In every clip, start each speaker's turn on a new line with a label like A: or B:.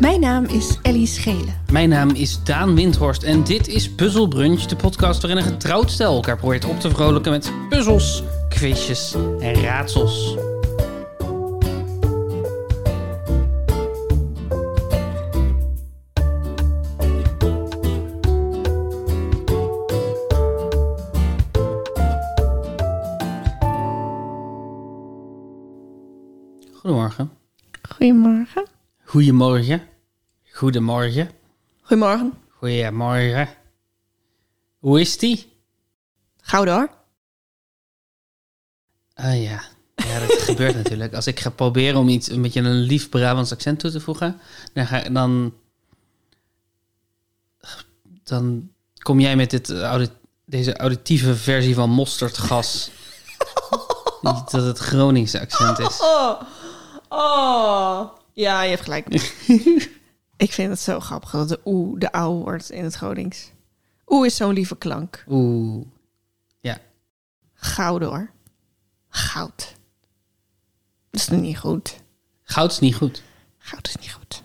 A: Mijn naam is Ellie Schelen.
B: Mijn naam is Daan Windhorst en dit is Puzzle Brunch, de podcast waarin een getrouwd stel elkaar probeert op te vrolijken met puzzels, quizjes en raadsels. Goedemorgen.
A: Goedemorgen.
B: Goedemorgen. Goedemorgen.
A: Goedemorgen.
B: Goedemorgen. Hoe is die?
A: Gauw door.
B: Ah ja. Ja, dat gebeurt natuurlijk. Als ik ga proberen om iets een beetje een lief Brabants accent toe te voegen, dan, ga, dan, dan kom jij met dit audi- deze auditieve versie van mosterdgas. Niet dat het Groningse accent is.
A: Oh. Oh. Ja, je hebt gelijk. ik vind het zo grappig dat de oe de au wordt in het Gronings. Oe is zo'n lieve klank.
B: Oeh.
A: Gauw door. Goud. Dat is niet goed.
B: Goud is niet goed.
A: Goud is niet goed.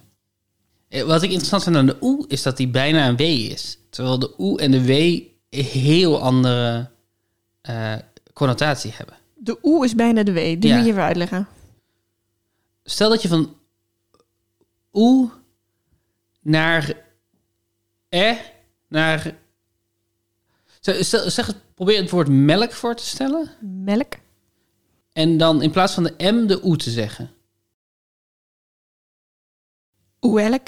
B: Eh, Wat ik interessant vind aan de oe is dat die bijna een w is. Terwijl de oe en de w heel andere eh, connotatie hebben.
A: De oe is bijna de w. Die
B: Ja.
A: moet je even uitleggen.
B: Stel dat je van oe naar e naar... Stel- stel- zeg het, probeer het woord melk voor te stellen.
A: Melk.
B: En dan in plaats van de m de oe te zeggen.
A: Oelk.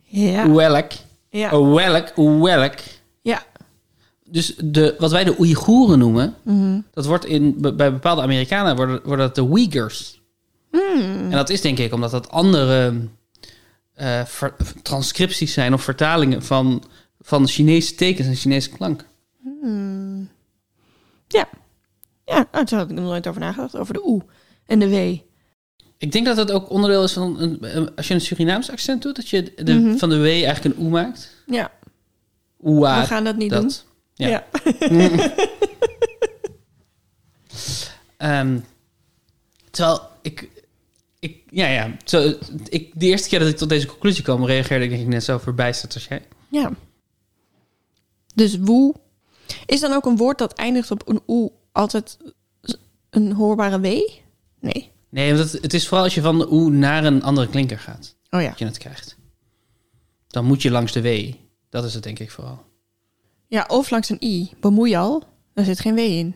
A: Ja.
B: Oelk.
A: Ja.
B: Oh. Oelk. Oelk.
A: Ja.
B: Dus de, wat wij de Oeigoeren noemen,
A: Mhm.
B: dat wordt in, be- bij bepaalde Amerikanen worden, worden dat de Uyghurs.
A: Mm.
B: En dat is denk ik omdat dat andere eh, ver- transcripties zijn of vertalingen van, van Chinese tekens en Chinese klank.
A: Hmm. Ja. Ja, oh, daar had ik nog nooit over nagedacht. Over de oe en de w.
B: Ik denk dat dat ook onderdeel is van, een, een- als je een Surinaams accent doet, dat je de, van de W eigenlijk een oe maakt.
A: Ja,
B: Oea,
A: we gaan dat niet
B: dat.
A: doen.
B: Ja.
A: Ja.
B: Ehm, terwijl ik, ik, ja, ja, zo, ik, de eerste keer dat ik tot deze conclusie kwam, reageerde ik denk ik net zo verbijsterd als jij.
A: Ja. Dus woe. Is dan ook een woord dat eindigt op een oe altijd een hoorbare w? Nee.
B: Nee, want het, het is vooral als je van de oe naar een andere klinker gaat,
A: Oh ja.
B: dat je het krijgt. Dan moet je langs de W. Dat is het denk ik vooral.
A: Ja, of langs een i. Bemoei al. Daar zit geen w in.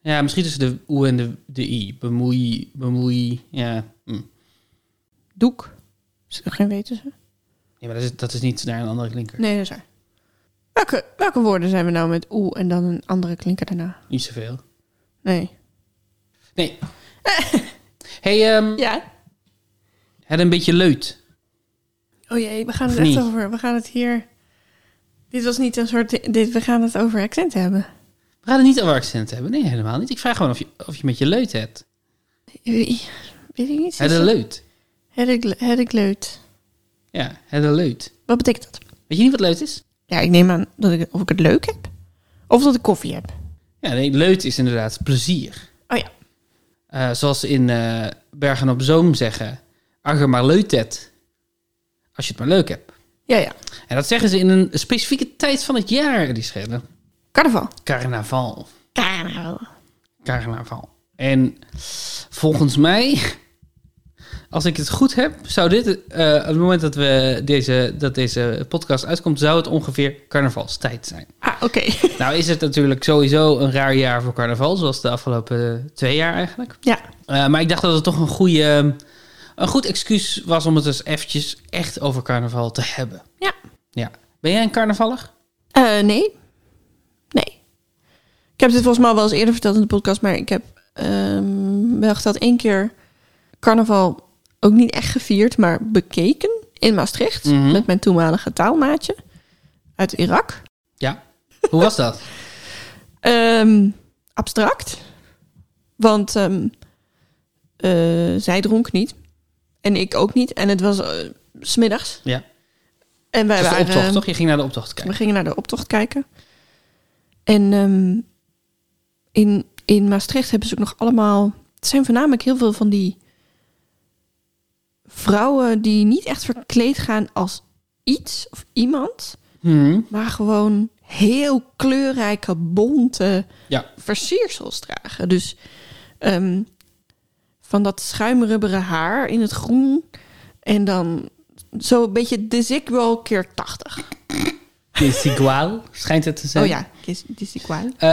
B: Ja, misschien tussen de oe en de, de i. Bemoei, bemoei, ja. hm. Nee,
A: Doek. Zit er geen w tussen?
B: maar dat is, dat is niet naar een andere klinker.
A: Nee, dat is waar. Welke, welke woorden zijn we nou met oe en dan een andere klinker daarna?
B: Niet zoveel.
A: Nee.
B: Nee. hey, ehm,
A: Ja.
B: het een beetje leut.
A: Oh jee, we gaan
B: Of
A: het echt
B: niet?
A: over. We gaan het hier. Dit was niet een soort. Dit, we gaan het over accent hebben.
B: We gaan het niet over accent hebben. Nee, helemaal niet. Ik vraag gewoon of je, of je met je leut hebt.
A: Eh, Weet ik niet.
B: Het een leut.
A: Het ik, het ik leut.
B: Ja, het een leut.
A: Wat betekent dat?
B: Weet je niet wat leut is?
A: Ja, ik neem aan dat ik, of ik het leuk heb. Of dat ik koffie heb.
B: Ja, nee, leut is inderdaad plezier.
A: Oh ja.
B: Eh, zoals ze in eh, Bergen op Zoom zeggen, als je maar leut hebt. Als je het maar leuk hebt.
A: Ja, ja.
B: En dat zeggen ze in een specifieke tijd van het jaar, die schillen.
A: Carnaval.
B: Carnaval.
A: Carnaval.
B: Carnaval. En volgens mij, als ik het goed heb, zou dit, eh, op het moment dat, we deze, dat deze podcast uitkomt, zou het ongeveer carnavalstijd zijn.
A: Ah, oké.
B: Nou is het natuurlijk sowieso een raar jaar voor carnaval, zoals de afgelopen eh, twee jaar eigenlijk.
A: ja.
B: Eh, maar ik dacht dat het toch een, goede, ehm, een goed excuus was om het dus eventjes echt over carnaval te hebben.
A: Ja.
B: Ja. Ben jij een carnavaller?
A: Eh, nee. Nee. Ik heb dit volgens mij wel eens eerder verteld in de podcast, maar ik heb ehm, wel geteld één keer carnaval ook niet echt gevierd, maar bekeken in Maastricht
B: Mhm.
A: met mijn toenmalige taalmaatje uit Irak.
B: Ja. Hoe was dat?
A: Ehm, abstract. Want ehm, eh, zij dronk niet. En ik ook niet. En het was eh, 's smiddags.
B: Ja.
A: En wij
B: Dat is de
A: waren,
B: optocht, toch? Je ging naar de optocht kijken.
A: We gingen naar de optocht kijken. En ehm, in, in Maastricht hebben ze ook nog allemaal... Het zijn voornamelijk heel veel van die... vrouwen die niet echt verkleed gaan als iets of iemand,
B: Mhm.
A: maar gewoon heel kleurrijke, bonte
B: Ja.
A: versiersels dragen. Dus ehm, van dat schuimrubberen haar in het groen en dan zo een beetje de Zigwall keer 80.
B: Is igual, schijnt het te zijn.
A: Oh ja, is, is igual.
B: Eh,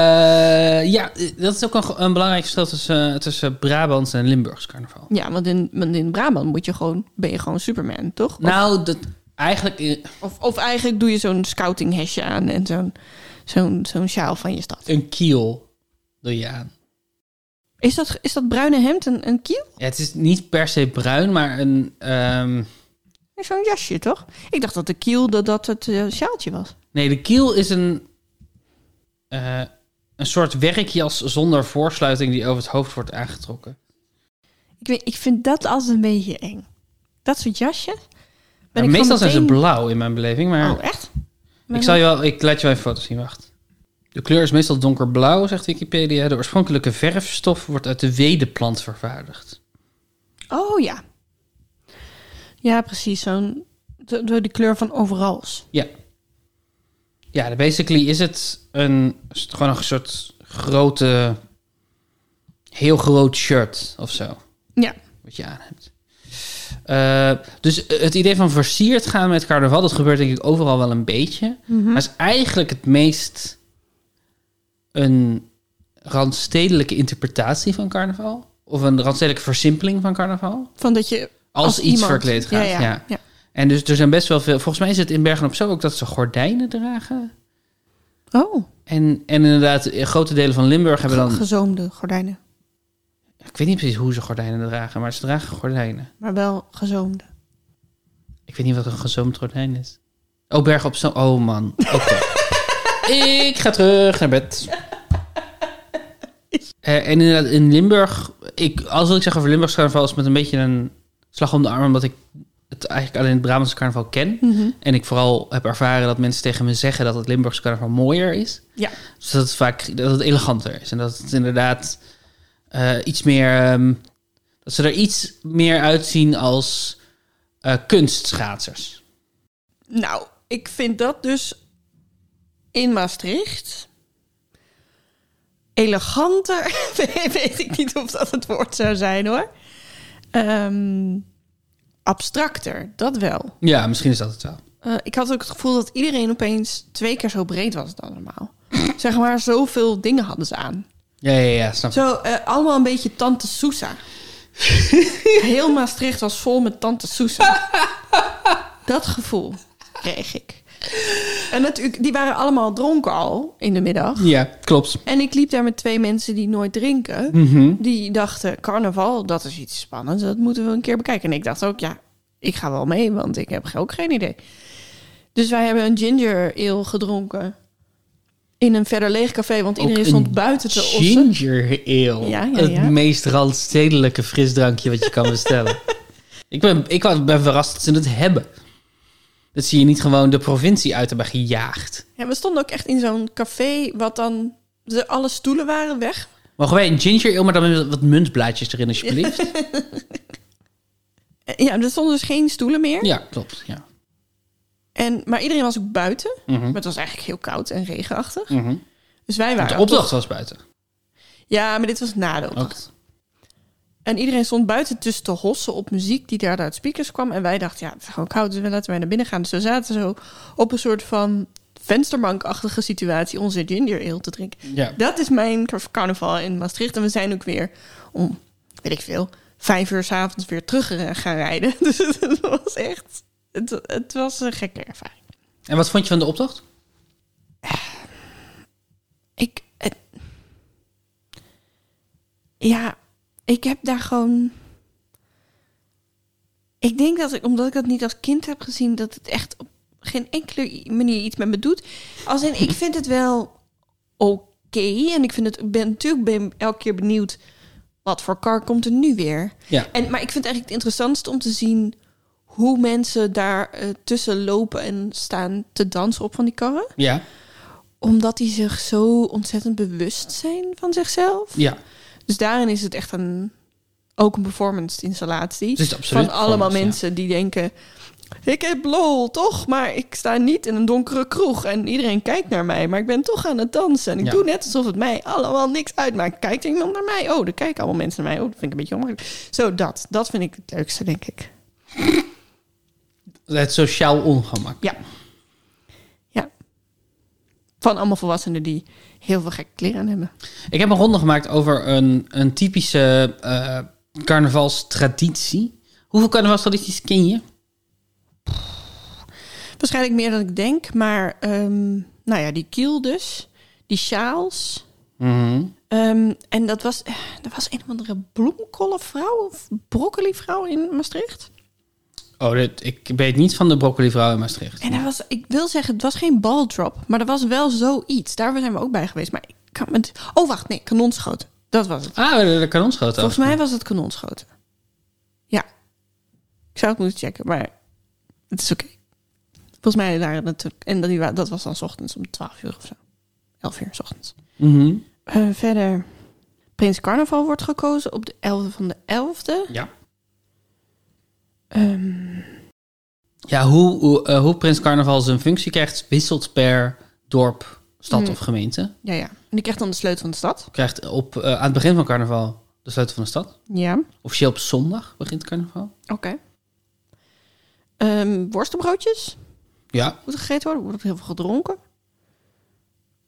B: ja, eh, dat is ook een, een belangrijk verschil tussen, eh, tussen Brabants en Limburgs carnaval.
A: Ja, want in, want in Brabant moet je gewoon, ben je gewoon Superman, toch? Of,
B: Nou, dat eigenlijk... eh,
A: of, of eigenlijk doe je zo'n scouting hesje aan en zo'n zo'n zo'n sjaal van je stad.
B: Een kiel doe je aan.
A: Is dat, is dat bruine hemd een, een kiel?
B: Ja, het is niet per se bruin, maar een... ehm,
A: Zo'n jasje, toch? Ik dacht dat de kiel dat, dat het eh, sjaaltje was.
B: nee, de kiel is een... eh, een soort werkjas zonder voorsluiting die over het hoofd wordt aangetrokken.
A: Ik, weet, ik vind dat altijd een beetje eng. Dat soort jasjes. Ben
B: Maar
A: ik
B: meestal
A: gewoon
B: zijn ze
A: meteen-
B: blauw in mijn beleving, maar...
A: Oh, echt?
B: Ik, zal je wel, ik laat je wel even foto's zien, wacht. De kleur is meestal donkerblauw, zegt Wikipedia. De oorspronkelijke verfstof wordt uit de wedeplant vervaardigd.
A: Oh ja. Ja, precies. Zo'n de, de, de kleur van overals.
B: Ja. Ja, de- basically is het een, is het gewoon een soort grote, heel groot shirt of zo,
A: Ja.
B: wat je aan hebt. Eh, dus het idee van versierd gaan met carnaval, dat gebeurt denk ik overal wel een
A: Mhm.
B: beetje. Maar is eigenlijk het meest een randstedelijke interpretatie van carnaval. Of een randstedelijke versimpeling van carnaval.
A: Van dat je
B: Als, iets
A: iemand-
B: verkleed gaat.
A: Ja, ja,
B: ja.
A: ja.
B: En dus er zijn best wel veel. Volgens mij is het in Bergen op Zoom ook dat ze gordijnen dragen.
A: Oh,
B: En, en inderdaad, eh, grote delen van Limburg hebben dan.
A: gezoomde gordijnen.
B: Ik weet niet precies hoe ze gordijnen dragen, maar ze dragen gordijnen.
A: Maar wel gezoomde.
B: Ik weet niet wat een gezoomd gordijn is. Oh, Bergen op Zoom. Oh man. Oké. ik ga terug naar bed. Eh, en inderdaad, in Limburg. Ik, als wil ik zeggen over Limburgs carnaval, is het met een beetje een slag om de arm, omdat ik het eigenlijk alleen het Brabantse carnaval ken.
A: Hm. Mhm.
B: En ik vooral heb ervaren dat mensen tegen me zeggen dat het Limburgse carnaval mooier is.
A: Ja.
B: Dus dat het vaak dat het eleganter is. En dat het inderdaad eh, iets meer. ehm, dat ze er iets meer uitzien als eh, kunstschaatsers.
A: Nou, ik vind dat dus in Maastricht eleganter. Nee, Weet ik niet of dat het woord zou zijn hoor. Ehm, abstracter, dat wel.
B: Ja, misschien is dat het wel.
A: Eh, ik had ook het gevoel dat iedereen opeens twee keer zo breed was dan normaal. zeg maar, zoveel dingen hadden ze aan.
B: Ja, ja, ja, snap ik.
A: Zo, eh, allemaal een beetje Tante Sousa. Heel Maastricht was vol met Tante Sousa. Dat gevoel kreeg ik. En natuurlijk, die waren allemaal dronken al in de middag.
B: Ja, klopt.
A: En ik liep daar met twee mensen die nooit drinken.
B: Mhm.
A: Die dachten, carnaval, dat is iets spannends. Dat moeten we een keer bekijken. En ik dacht ook, ja, ik ga wel mee, want ik heb ook geen idee. Dus wij hebben een ginger ale gedronken. In een verder leeg café, want iedereen
B: Ook
A: stond
B: een
A: buiten te ossen.
B: Ginger ale.
A: Ja, ja, ja.
B: Het meest randstedelijke frisdrankje wat je kan bestellen. ik, ben, ik wa- ben verrast dat ze het hebben. Dat zie je niet gewoon de provincie uit hebben gejaagd.
A: Ja, we stonden ook echt in zo'n café, wat dan de, alle stoelen waren weg.
B: Mogen wij een ginger ale, maar dan met wat muntblaadjes erin, alsjeblieft?
A: Eh, Ja, er stonden dus geen stoelen meer.
B: ja, klopt. Ja.
A: En, maar iedereen was ook buiten.
B: Mhm.
A: Maar het was eigenlijk heel koud en regenachtig.
B: Mhm.
A: Dus wij waren.
B: De opdracht was buiten.
A: Ja, maar dit was na de opdracht. En iedereen stond buiten tussen te hossen op muziek die daar uit speakers kwam. En wij dachten, ja, het is gewoon koud, dus we laten wij naar binnen gaan. Dus we zaten zo op een soort van vensterbankachtige situatie onze ginger ale te drinken.
B: Ja.
A: Dat is mijn car- carnaval in Maastricht. En we zijn ook weer om, weet ik veel, vijf uur s'avonds weer terug eh, gaan rijden. Dus het was echt, het, het was een gekke ervaring.
B: En wat vond je van de opdracht?
A: Ik, eh, het- ja, ik heb daar gewoon... Ik denk dat ik, omdat ik dat niet als kind heb gezien, dat het echt op geen enkele i- manier iets met me doet. Als in, ik vind het wel oké. en ik vind het, ik ben natuurlijk ben elke keer benieuwd wat voor kar komt er nu weer.
B: Ja.
A: En, maar ik vind het eigenlijk het interessantste om te zien hoe mensen daar eh, tussen lopen en staan te dansen op van die karren
B: Ja.
A: omdat die zich zo ontzettend bewust zijn van zichzelf.
B: Ja.
A: Dus daarin is het echt een ook een performance installatie.
B: Het is absoluut
A: van allemaal
B: performance,
A: mensen die denken... Ik heb lol, toch? Maar ik sta niet in een donkere kroeg en iedereen kijkt naar mij. Maar ik ben toch aan het dansen. En ik
B: Ja.
A: doe net alsof het mij allemaal niks uitmaakt. Kijkt er iemand naar mij? Oh, er kijken allemaal mensen naar mij. Oh, dat vind ik een beetje ongemakkelijk. Zo, dat. Dat vind ik het leukste, denk ik.
B: Het sociaal ongemak.
A: Ja. Ja. Van allemaal volwassenen die heel veel gekke kleren aan hebben.
B: Ik heb een ronde gemaakt over een, een typische eh, carnavalstraditie. Hoeveel carnavalstradities ken je?
A: Waarschijnlijk meer dan ik denk, maar ehm, nou ja, die kiel dus, die sjaals. Ehm, en dat was, eh, er was een of andere bloemkoolvrouw of broccolivrouw in Maastricht.
B: Oh, dit, ik weet niet van de broccolivrouw in Maastricht.
A: En daar was, ik wil zeggen, het was geen balldrop, maar er was wel zoiets. Daar zijn we ook bij geweest, maar ik kan met... Oh, wacht, nee, kanonschoten. Dat was het.
B: Ah, de, de kanonschoten.
A: Volgens mij was het kanonschoten. Ja. Ik zou het moeten checken, maar het is oké. Volgens mij waren het... En dat, die wa- dat was dan 's ochtends om 12 uur of zo. 11 uur 's ochtends.
B: Mhm.
A: Eh, verder, Prins Carnaval wordt gekozen op de 11e van de 11e.
B: Ja.
A: Ehm,
B: Ja, hoe, hoe, eh, hoe Prins Carnaval zijn functie krijgt, wisselt per dorp, stad of gemeente.
A: ja, ja. En ik krijg dan de sleutel van de stad.
B: Krijgt op, eh, aan het begin van carnaval de sleutel van de stad.
A: Ja,
B: Officieel op zondag begint carnaval.
A: oké. Ehm, worstenbroodjes
B: Ja.
A: moeten gegeten worden. Er wordt ook heel veel gedronken.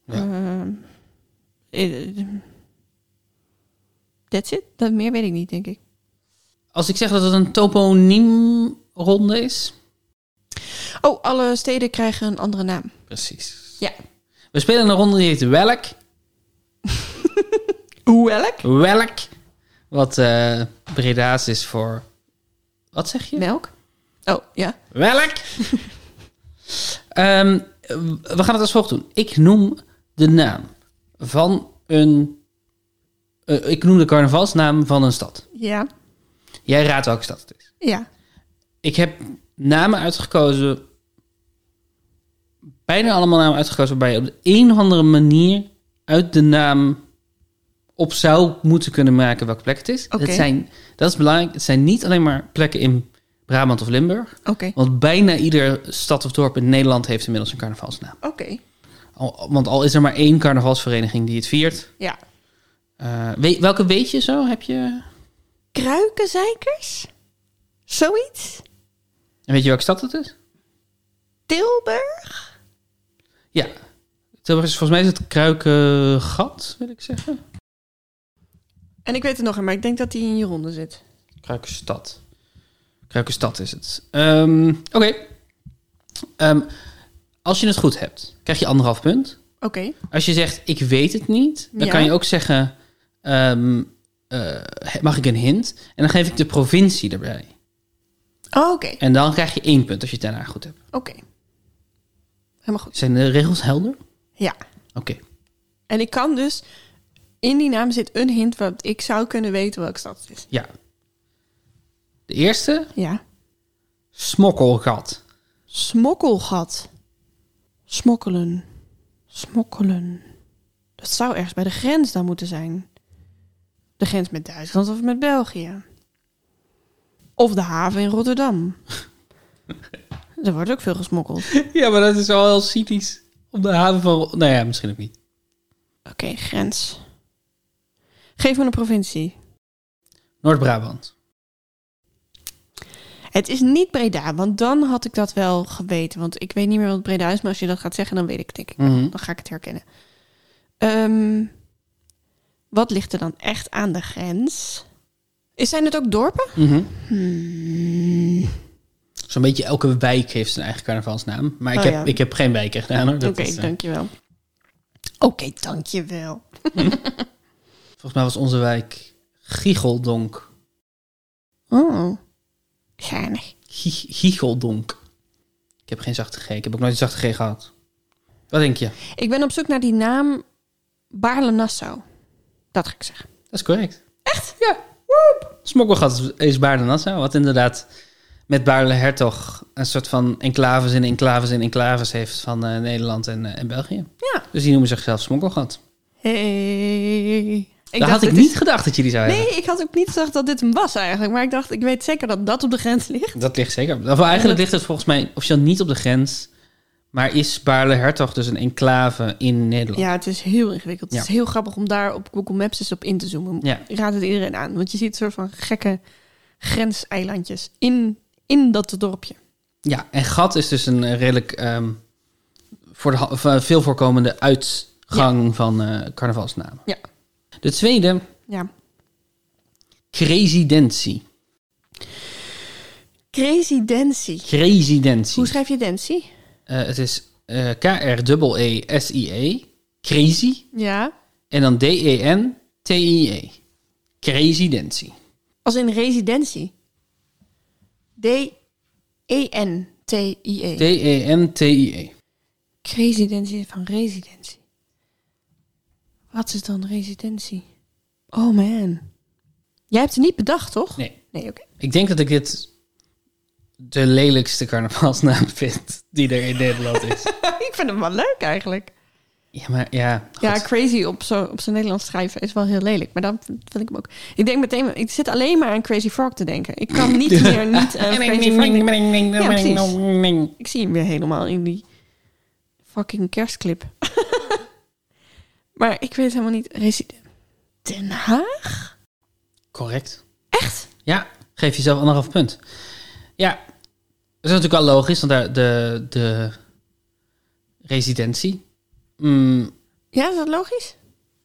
B: Ja.
A: Ehm, eh, eh, that's it. Dat meer weet ik niet, denk ik.
B: Als ik zeg dat het een toponiemronde is.
A: Oh, alle steden krijgen een andere naam.
B: Precies.
A: Ja.
B: We spelen een ronde die heet Welk.
A: Hoe elk?
B: Welk. Wat eh, Breda's is voor... Wat zeg je?
A: Melk. Oh, ja.
B: Welk? Ehm, we gaan het als volgt doen. Ik noem de naam van een. eh, ik noem de carnavalsnaam van een stad.
A: Ja.
B: Jij raadt welke stad het is.
A: Ja.
B: Ik heb namen uitgekozen. Bijna allemaal namen uitgekozen waarbij je op de een of andere manier uit de naam op zou moeten kunnen maken welke plek het is.
A: Oké.
B: Het zijn, dat is belangrijk. Het zijn niet alleen maar plekken in Brabant of Limburg.
A: Oké.
B: Want bijna ieder stad of dorp in Nederland heeft inmiddels een carnavalsnaam.
A: Oké.
B: Al- want al is er maar één carnavalsvereniging die het viert.
A: Ja.
B: Eh, weet- welke weet je zo? Heb je...
A: Kruikenzeikers? Zoiets?
B: En weet je welke stad het is?
A: Tilburg?
B: Ja. Tilburg is- Volgens mij is het Kruikengat, wil ik zeggen.
A: En ik weet het nog, maar ik denk dat die in je ronde zit.
B: Kruikenstad. Kruikenstad is het. Ehm, Oké. Ehm, als je het goed hebt, krijg je anderhalf punt.
A: Oké.
B: Als je zegt, ik weet het niet, dan
A: Ja.
B: kan je ook zeggen, ehm, eh, mag ik een hint? En dan geef ik de provincie erbij.
A: Oh, oké.
B: En dan krijg je één punt als je het daarna goed hebt.
A: Oké. Helemaal goed.
B: Zijn de regels helder? Oké.
A: Ja. En ik kan dus... In die naam zit een hint wat ik zou kunnen weten welke stad het is.
B: Ja. De eerste,
A: Ja.
B: smokkelgat.
A: Smokkelgat. Smokkelen. Smokkelen. Dat zou ergens bij de grens dan moeten zijn. De grens met Duitsland of met België. Of de haven in Rotterdam. er wordt ook veel gesmokkeld.
B: Ja, maar dat is wel heel cynisch. Op de haven van... Nou ja, misschien ook niet.
A: Oké, grens. Geef me een provincie.
B: Noord-Brabant.
A: Het is niet Breda, want dan had ik dat wel geweten. Want ik weet niet meer wat Breda is, maar als je dat gaat zeggen, dan weet ik het denk ik.
B: Mhm.
A: Dan ga ik het herkennen. Ehm, wat ligt er dan echt aan de grens? Is- Zijn het ook dorpen?
B: Mhm.
A: Hmm.
B: Zo'n beetje elke wijk heeft zijn eigen carnavalsnaam. Maar ik,
A: Oh,
B: heb,
A: ja.
B: ik heb geen wijk echt aan. hoor.
A: Oké,
B: Dat is, eh,
A: dankjewel. Oké, dankjewel.
B: Volgens mij was onze wijk Giegeldonk.
A: Oh, geinig.
B: Gie- Giegeldonk. Ik heb geen zachte G. Ik heb ook nooit een zachte G gehad. Wat denk je?
A: Ik ben op zoek naar die naam Baarle-Nassau. Dat ga ik zeggen.
B: Dat is correct. Echt? Ja. Smokkelgat is Baarle-Nassau, wat inderdaad met Baarle-Hertog een soort van enclaves in enclaves in enclaves heeft van eh, Nederland en, eh, en België.
A: Ja.
B: Dus die noemen zichzelf Smokkelgat.
A: Hey.
B: Daar had ik
A: dit is-
B: niet gedacht dat je die zou hebben.
A: Nee, ik had ook niet gedacht dat dit hem was eigenlijk. Maar ik dacht, ik weet zeker dat dat op de grens ligt.
B: Dat ligt zeker. Of eigenlijk ligt het volgens mij officieel niet op de grens. Maar is Baarle-Hertog dus een enclave in Nederland?
A: Ja, het is heel ingewikkeld. Het
B: Ja.
A: is heel grappig om daar op Google Maps eens op in te zoomen.
B: Ja.
A: Ik raad het iedereen aan. Want je ziet soort van gekke grenseilandjes in, in dat dorpje.
B: Ja, en gat is dus een eh, redelijk ehm, voor de, ha- v- veel voorkomende uitgang van eh, carnavalsnamen.
A: Ja.
B: De tweede,
A: Ja.
B: cresidentie.
A: Cresidentie.
B: Cresidentie.
A: Hoe schrijf je dentie?
B: Eh, het is eh E K-R-E-E-S-I-E. Crazy.
A: Ja.
B: En dan E D-E-N-T-I-E. E. Cresidentie.
A: Als in residentie. E D-E-N-T-I-E.
B: E D-E-N-T-I-E.
A: Cresidentie van residentie. Wat is dan residentie? Oh man. Jij hebt het niet bedacht, toch?
B: Nee.
A: Nee, oké.
B: Ik denk dat ik dit de lelijkste carnavalsnaam vind die er in Nederland is.
A: ik vind hem wel leuk eigenlijk.
B: ja, maar ja.
A: Ja,
B: goed.
A: crazy op zo'n op zijn Nederlands schrijven is wel heel lelijk. Maar dan vind vind ik hem ook... Ik denk meteen... Ik zit alleen maar aan Crazy Frog te denken. Ik kan niet meer niet aan Crazy Frog denken. Ja, precies. Ik zie hem weer helemaal in die fucking kerstclip. maar ik weet helemaal niet... Resident Den Haag?
B: Correct.
A: Echt?
B: Ja, geef jezelf anderhalf punt. Ja, dat is natuurlijk wel logisch, want daar de, de residentie. Mm,
A: Ja, is dat logisch?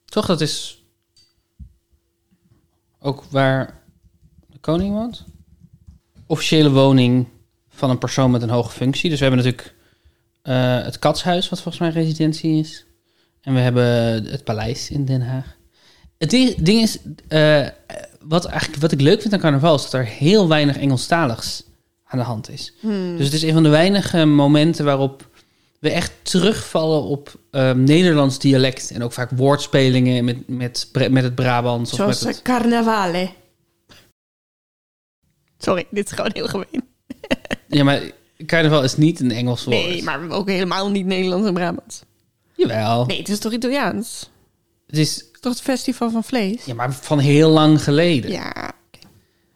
B: toch, dat is ook waar de koning woont. Officiële woning van een persoon met een hoge functie. Dus we hebben natuurlijk eh, het katshuis, wat volgens mij residentie is. En we hebben het paleis in Den Haag. Het di- ding is, eh, wat, eigenlijk, wat ik leuk vind aan carnaval... is dat er heel weinig Engelstaligs aan de hand is.
A: Hmm. Mm.
B: Dus het is een van de weinige momenten waarop we echt terugvallen op eh, Nederlands dialect. En ook vaak woordspelingen met, met, Bra- met het Brabants. Of
A: Zoals
B: met het...
A: eh, carnavale. Sorry, dit is gewoon heel gemeen.
B: Ja, maar carnaval is niet een Engels woord.
A: Nee, maar ook helemaal niet Nederlands en Brabants.
B: Jawel.
A: Nee, het is toch Italiaans?
B: Het is
A: Het is toch het festival van vlees?
B: ja, maar van heel lang geleden.
A: Ja.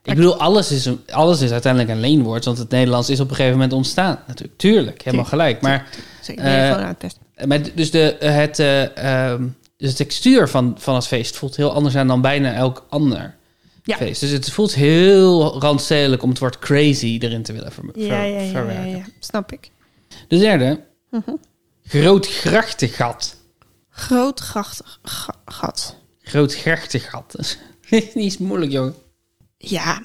B: Ik bedoel, alles is, een- alles is uiteindelijk een leenwoord. Want het Nederlands is op een gegeven moment ontstaan. Natuurlijk, tuurlijk, helemaal gelijk. Maar
A: Zeker. Nee,
B: Eh,
A: gewoon aan het testen.
B: Maar dus de, het, eh, ehm, dus de textuur van, van het feest voelt heel anders aan dan bijna elk ander
A: Ja.
B: feest. Dus het voelt heel randstedelijk om het woord crazy erin te willen ver- ver-
A: Ja, ja, ja, ja, Mhm.
B: verwerken.
A: ja. Snap ik.
B: De derde, groot grachtengat.
A: Groot grachtig ga- gat.
B: Groot grachtengat. Dat is niet zo moeilijk, jongen.
A: Ja.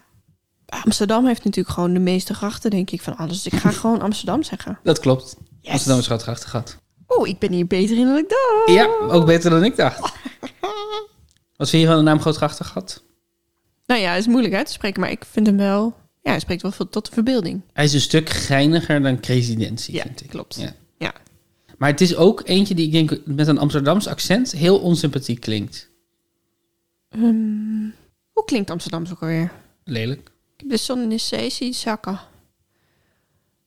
A: Amsterdam heeft natuurlijk gewoon de meeste grachten, denk ik, van alles. Dus ik ga gewoon Amsterdam zeggen.
B: Dat klopt.
A: Yes.
B: Amsterdam is groot grachtengat.
A: Oh, ik ben hier beter in dan ik dacht.
B: Ja, ook beter dan ik dacht. Wat vind je van de naam groot grachtengat?
A: Nou ja, is moeilijk uit te spreken, maar ik vind hem wel... Ja, hij spreekt wel veel tot de verbeelding.
B: Hij is een stuk geiniger dan Cresidentie,
A: Ja,
B: vind ik.
A: klopt.
B: Ja.
A: Ja.
B: Maar het is ook eentje die ik denk met een Amsterdams accent heel onsympathiek klinkt.
A: Ehm, hoe klinkt Amsterdam ook alweer?
B: Lelijk.
A: De zon in zee zie zakken.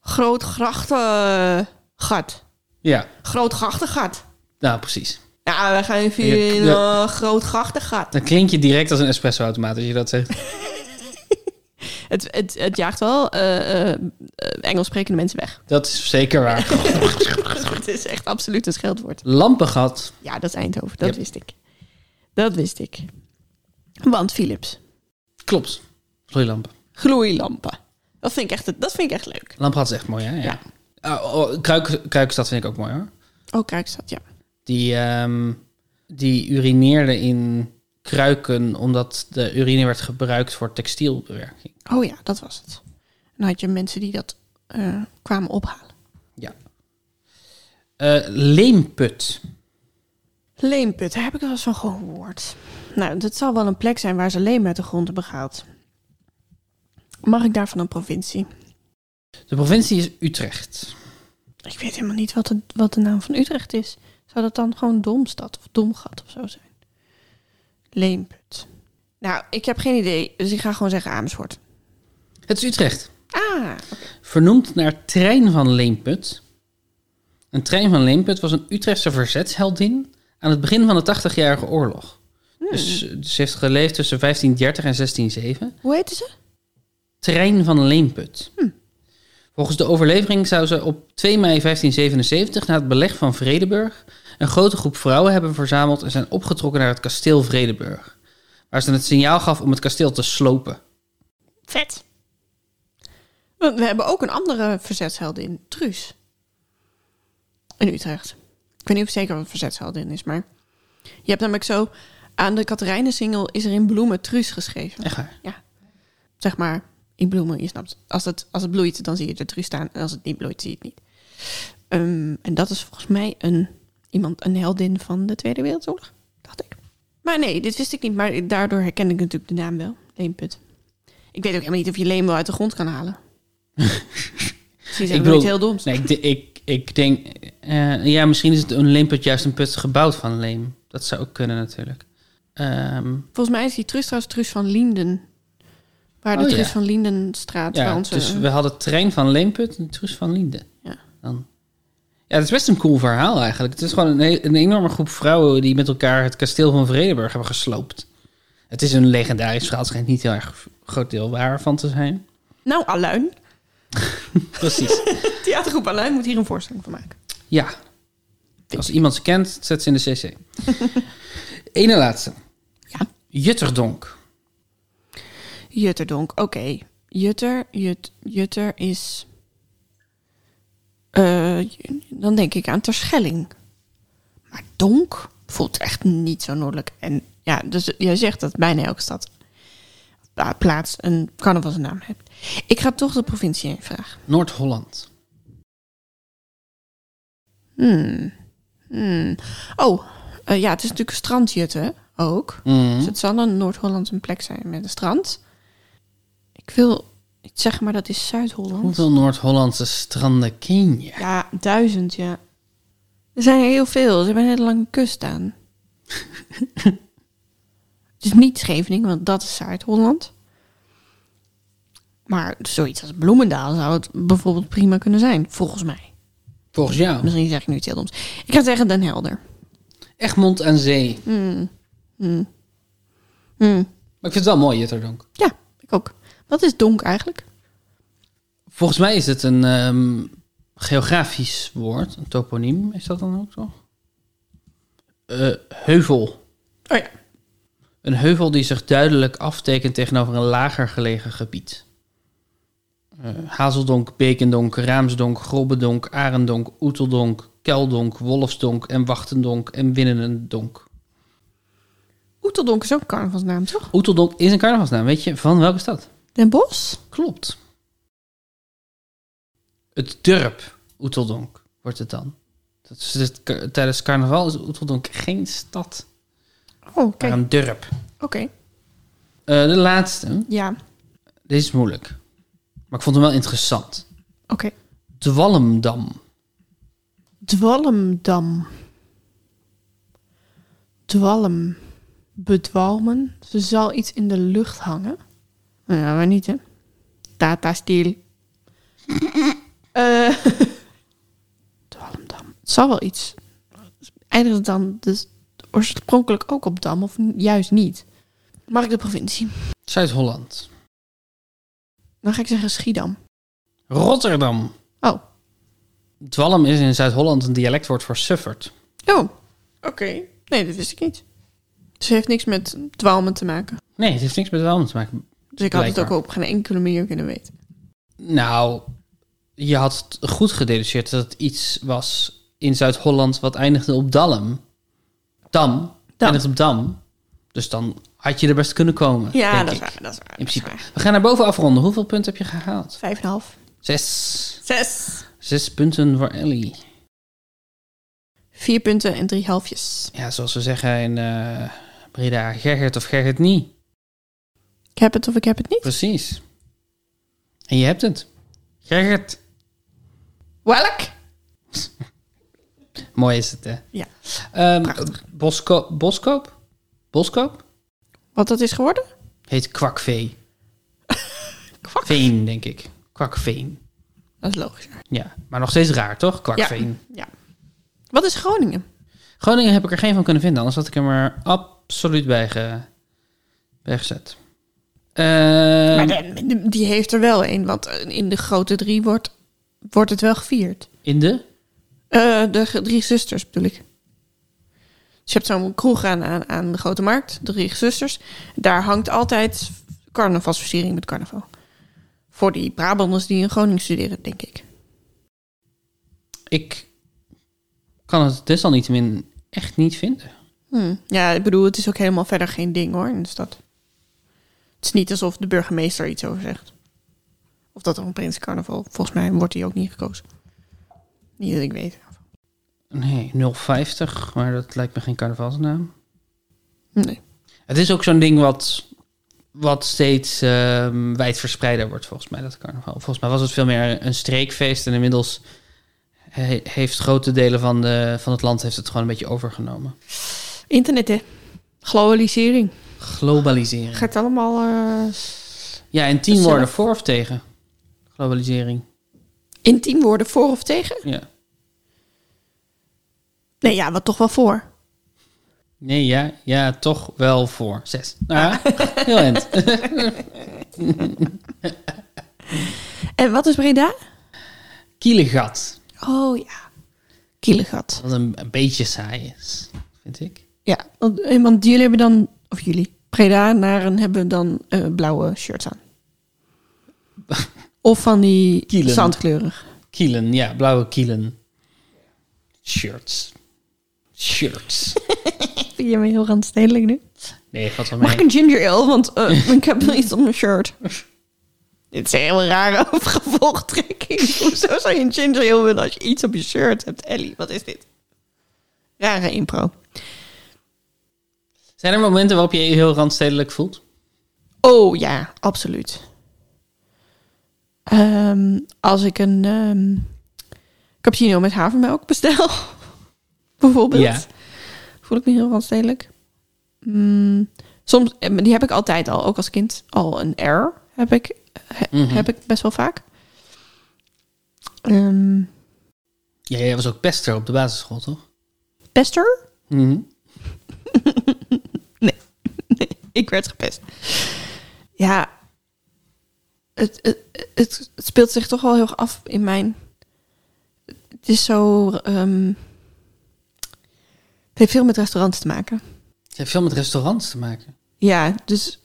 A: Groot grachten gat.
B: Ja,
A: Groot grachten gat.
B: nou precies.
A: Ja, we gaan even in een eh, groot grachten gat.
B: Dan klink je direct als een espresso-automaat als je dat zegt.
A: Het, het, het jaagt wel eh, eh, Engels sprekende mensen weg.
B: Dat is zeker waar.
A: Het is echt absoluut een scheldwoord.
B: Lampengat.
A: Ja, dat is Eindhoven. Dat
B: Yep.
A: wist ik. Dat wist ik. Want Philips.
B: Klopt. Vloeilampen.
A: Gloeilampen. Dat vind ik echt, dat vind ik echt leuk.
B: Lampengat is echt mooi, hè? Ja.
A: Ja.
B: Oh, oh, Kruik, Kruikstad vind ik ook mooi, hoor.
A: Oh, Kruikstad, ja.
B: Die, ehm, die urineerde in kruiken omdat de urine werd gebruikt voor textielbewerking.
A: Oh ja, dat was het. En dan had je mensen die dat eh, kwamen ophalen.
B: Ja. Eh, leemput.
A: Leemput, daar heb ik wel eens van gehoord. Nou, dat zal wel een plek zijn waar ze leem uit de grond hebben gehaald. Mag ik daarvan een provincie?
B: De provincie is Utrecht.
A: Ik weet helemaal niet wat de, wat de naam van Utrecht is. Zou dat dan gewoon Domstad of Domgat of zo zijn? Leemput. Nou, ik heb geen idee, dus ik ga gewoon zeggen Amersfoort.
B: Het is Utrecht.
A: Ah,
B: Vernoemd naar Trein van Leemput. Een Trein van Leemput was een Utrechtse verzetsheldin aan het begin van de 80-jarige oorlog. Dus ze heeft geleefd tussen 1530 en 1607.
A: Hoe heette ze?
B: Terrein van Leemput. Volgens de overlevering zou ze op 2 mei 1577 na het beleg van Vredeburg een grote groep vrouwen hebben verzameld en zijn opgetrokken naar het kasteel Vredeburg, waar ze het signaal gaf om het kasteel te slopen.
A: Vet. Want we hebben ook een andere verzetsheldin, Truus. In Utrecht. Ik weet niet of het zeker wat een verzetsheldin is, maar... Je hebt namelijk zo... Aan de Katerijnen-single is er in bloemen Truus geschreven.
B: Echt waar.
A: Ja. Zeg maar, in bloemen, je snapt. Als het, als het bloeit, dan zie je de Truus staan. En als het niet bloeit, zie je het niet. Ehm, en dat is volgens mij een, iemand, een heldin van de Tweede Wereldoorlog, dacht ik. Maar nee, dit wist ik niet. Maar daardoor herkende ik natuurlijk de naam wel. Leemput. Ik weet ook helemaal niet of je leem wel uit de grond kan halen. Precies, ik bedoel,
B: bedoel-
A: niet heel dom.
B: Nee, ik, de- ik, ik denk, eh, ja, misschien is het een leemput juist een put gebouwd van leem. Dat zou ook kunnen natuurlijk. Ehm,
A: Volgens mij is die Trus trouwens Trus van Linden. Waar de
B: Oh,
A: Trus
B: ja.
A: van Lindenstraat, eh, waar
B: ja,
A: onze...
B: dus we hadden trein van Leemput en Truus van Linden.
A: Ja.
B: Dan. Ja, het is best een cool verhaal eigenlijk. Het is gewoon een, he- een enorme groep vrouwen die met elkaar het kasteel van Vredenburg hebben gesloopt. Het is een legendarisch verhaal, het schijnt niet heel erg groot deel waar van te zijn.
A: Nou, Aluin.
B: Precies.
A: Theatergroep Aluin moet hier een voorstelling van maken.
B: Ja. Als iemand ze kent, zet ze in de cc. Ene laatste.
A: Ja.
B: Jutterdonk.
A: Jutterdonk, oké. Jutter, jut, Jutter is... eh, j- dan denk ik aan Terschelling. Maar Donk voelt echt niet zo noordelijk. En ja, dus jij zegt dat bijna elke stad pla- plaats een carnavalsnaam hebt. Ik ga toch de provincie heen vragen.
B: Noord-Holland.
A: Hmm. Hmm. Oh, eh, ja, het is natuurlijk strandjutten ook.
B: Mhm.
A: Dus het zal een Noord-Holland een plek zijn met een strand. Ik wil ik zeg maar dat is Zuid-Holland.
B: Hoeveel Noord-Hollandse stranden ken je?
A: Ja, duizend, ja. Er zijn er heel veel. Ze hebben een hele lange kust aan. Het is niet Scheveningen, want dat is Zuid-Holland. Maar zoiets als Bloemendaal zou het bijvoorbeeld prima kunnen zijn, volgens mij.
B: Volgens jou.
A: Misschien zeg ik nu iets heel doms. Ik ga zeggen Den Helder.
B: Egmond aan Zee.
A: Hm,
B: Maar ik vind het wel mooi, Jutterdonk.
A: Ja, ik ook. Wat is donk eigenlijk?
B: Volgens mij is het een ehm, geografisch woord. Een toponiem is dat dan ook toch? Eh, heuvel.
A: Oh ja.
B: Een heuvel die zich duidelijk aftekent tegenover een lager gelegen gebied. Eh, Hazeldonk, Bekendonk, Raamsdonk, Grobbedonk, Arendonk, Oeteldonk, Keldonk, Wolfsdonk en Wachtendonk en Winnenendonk.
A: Oeteldonk is ook een carnavalsnaam, toch?
B: Oeteldonk is een carnavalsnaam, weet je? Van welke stad?
A: Den Bosch?
B: Klopt. Het dorp Oeteldonk wordt het dan. Dat is het, ka- tijdens carnaval is Oeteldonk geen stad,
A: Oh,
B: maar
A: kijk.
B: een dorp.
A: Oké.
B: Eh, de laatste,
A: Ja, oké.
B: deze is moeilijk. Maar ik vond hem wel interessant. Dwalmdam.
A: Dwalmdam. Dwalm. Bedwalmen. Ze zal iets in de lucht hangen. Nou Ja, maar niet, hè? Tata stil. Eh Dwalmdam. Het zal wel iets. Eindigt het dan dus oorspronkelijk ook op dam of juist niet? Mag ik de provincie?
B: Zuid-Holland.
A: Dan ga ik zeggen Schiedam.
B: Rotterdam.
A: Oh.
B: Dwalm is in Zuid-Holland een dialectwoord voor Suffert.
A: Oh, oké. Nee, dat wist ik niet. Dus het heeft niks met dwalmen te maken.
B: Nee, het heeft niks met Dwalm te maken.
A: Dus ik had het ook
B: Blijkbaar.
A: op geen enkele manier kunnen weten.
B: Nou, je had het goed gededuceerd dat het iets was in Zuid-Holland wat eindigde op Dalm. Dam. Eindigde op Dam. Dus dan had je er best kunnen komen.
A: Ja,
B: denk
A: dat is
B: ik.
A: waar. Dat is waar.
B: In principe. We gaan naar boven afronden. Hoeveel punten heb je gehaald?
A: Vijf en half.
B: Zes.
A: Zes.
B: Zes punten voor Ellie.
A: Vier punten en drie halfjes.
B: Ja, zoals we zeggen in eh, Breda, Gerrit of Gerrit niet.
A: Ik heb het of ik heb het niet.
B: Precies. En je hebt het. Gerrit.
A: Welk?
B: Mooi is het, hè?
A: Ja.
B: Ehm
A: Prachtig.
B: Bosko- boskoop? Boskoop?
A: Wat dat is geworden?
B: Heet kwakvee.
A: Kwak.
B: Veen, denk ik. Kwakveen.
A: Dat is logisch.
B: Ja, maar nog steeds raar, toch? Kwakveen.
A: Ja. Wat is Groningen?
B: Groningen heb ik er geen van kunnen vinden, anders had ik hem er absoluut bij, ge- bij gezet. Eh,
A: maar de- de- die heeft er wel een, want in de grote drie wordt, wordt het wel gevierd.
B: in de?
A: Eh, de ge- drie zusters bedoel ik. Dus je hebt zo'n kroeg aan, aan, aan de Grote Markt, de drie zusters. Daar hangt altijd carnavalsversiering met carnaval. Voor die Brabanders die in Groningen studeren, denk ik.
B: Ik kan het desalniettemin echt niet vinden.
A: Hm. Ja, ik bedoel, het is ook helemaal verder geen ding hoor in de stad. Het is niet alsof de burgemeester iets over zegt. Of dat er een prins carnaval, volgens mij wordt die ook niet gekozen. Niet dat ik weet.
B: Nee, 050, maar dat lijkt me geen carnavalsnaam.
A: Nee.
B: Het is ook zo'n ding wat, wat steeds ehm, wijdverspreider wordt, volgens mij, dat carnaval. Volgens mij was het veel meer een streekfeest en inmiddels he- heeft grote delen van, de, van het land heeft het gewoon een beetje overgenomen.
A: Internet hè. Globalisering.
B: Globalisering.
A: Gaat allemaal... eh,
B: Ja, en tien
A: Zelf.
B: woorden voor of tegen globalisering.
A: intiem worden voor of tegen?
B: Ja.
A: Nee, ja, wat toch wel voor.
B: Nee, ja, ja, toch wel voor. Zes. Nou, ja, heel eind.
A: En wat is Breda?
B: Kielegat.
A: Oh ja, Kielegat.
B: Wat een, een beetje saai is, vind ik.
A: Ja, want, eh, want jullie hebben dan... Of jullie. Breda-naren hebben dan eh, blauwe shirts aan. of van die
B: Kielen.
A: zandkleurig.
B: Kielen, ja, blauwe kielen. Shirts. Shirts.
A: Vind je me heel randstedelijk nu?
B: Nee, valt wel
A: Mag ik
B: mee.
A: een ginger ale? Want eh, ik heb wel iets op mijn shirt. Dit is een heel rare gevolgtrekking. Hoezo zou je een ginger ale willen als je iets op je shirt hebt? Ellie, wat is dit? Rare impro.
B: Zijn er momenten waarop je je heel randstedelijk voelt?
A: Oh ja, absoluut. Ehm, als ik een ehm, cappuccino met havermelk bestel, bijvoorbeeld,
B: Ja.
A: voel ik me heel randstedelijk. Mm, soms, eh, maar die heb ik altijd al, ook als kind, al een R heb ik, he-
B: Mhm.
A: heb ik best wel vaak. Ehm
B: Ja, jij was ook pester op de basisschool, toch?
A: pester?
B: Mhm.
A: Ik werd gepest. Ja, het, het, het, het speelt zich toch wel heel erg af in mijn. Het is zo. ehm, het heeft veel met restaurants te maken.
B: Het heeft veel met restaurants te maken.
A: Ja, dus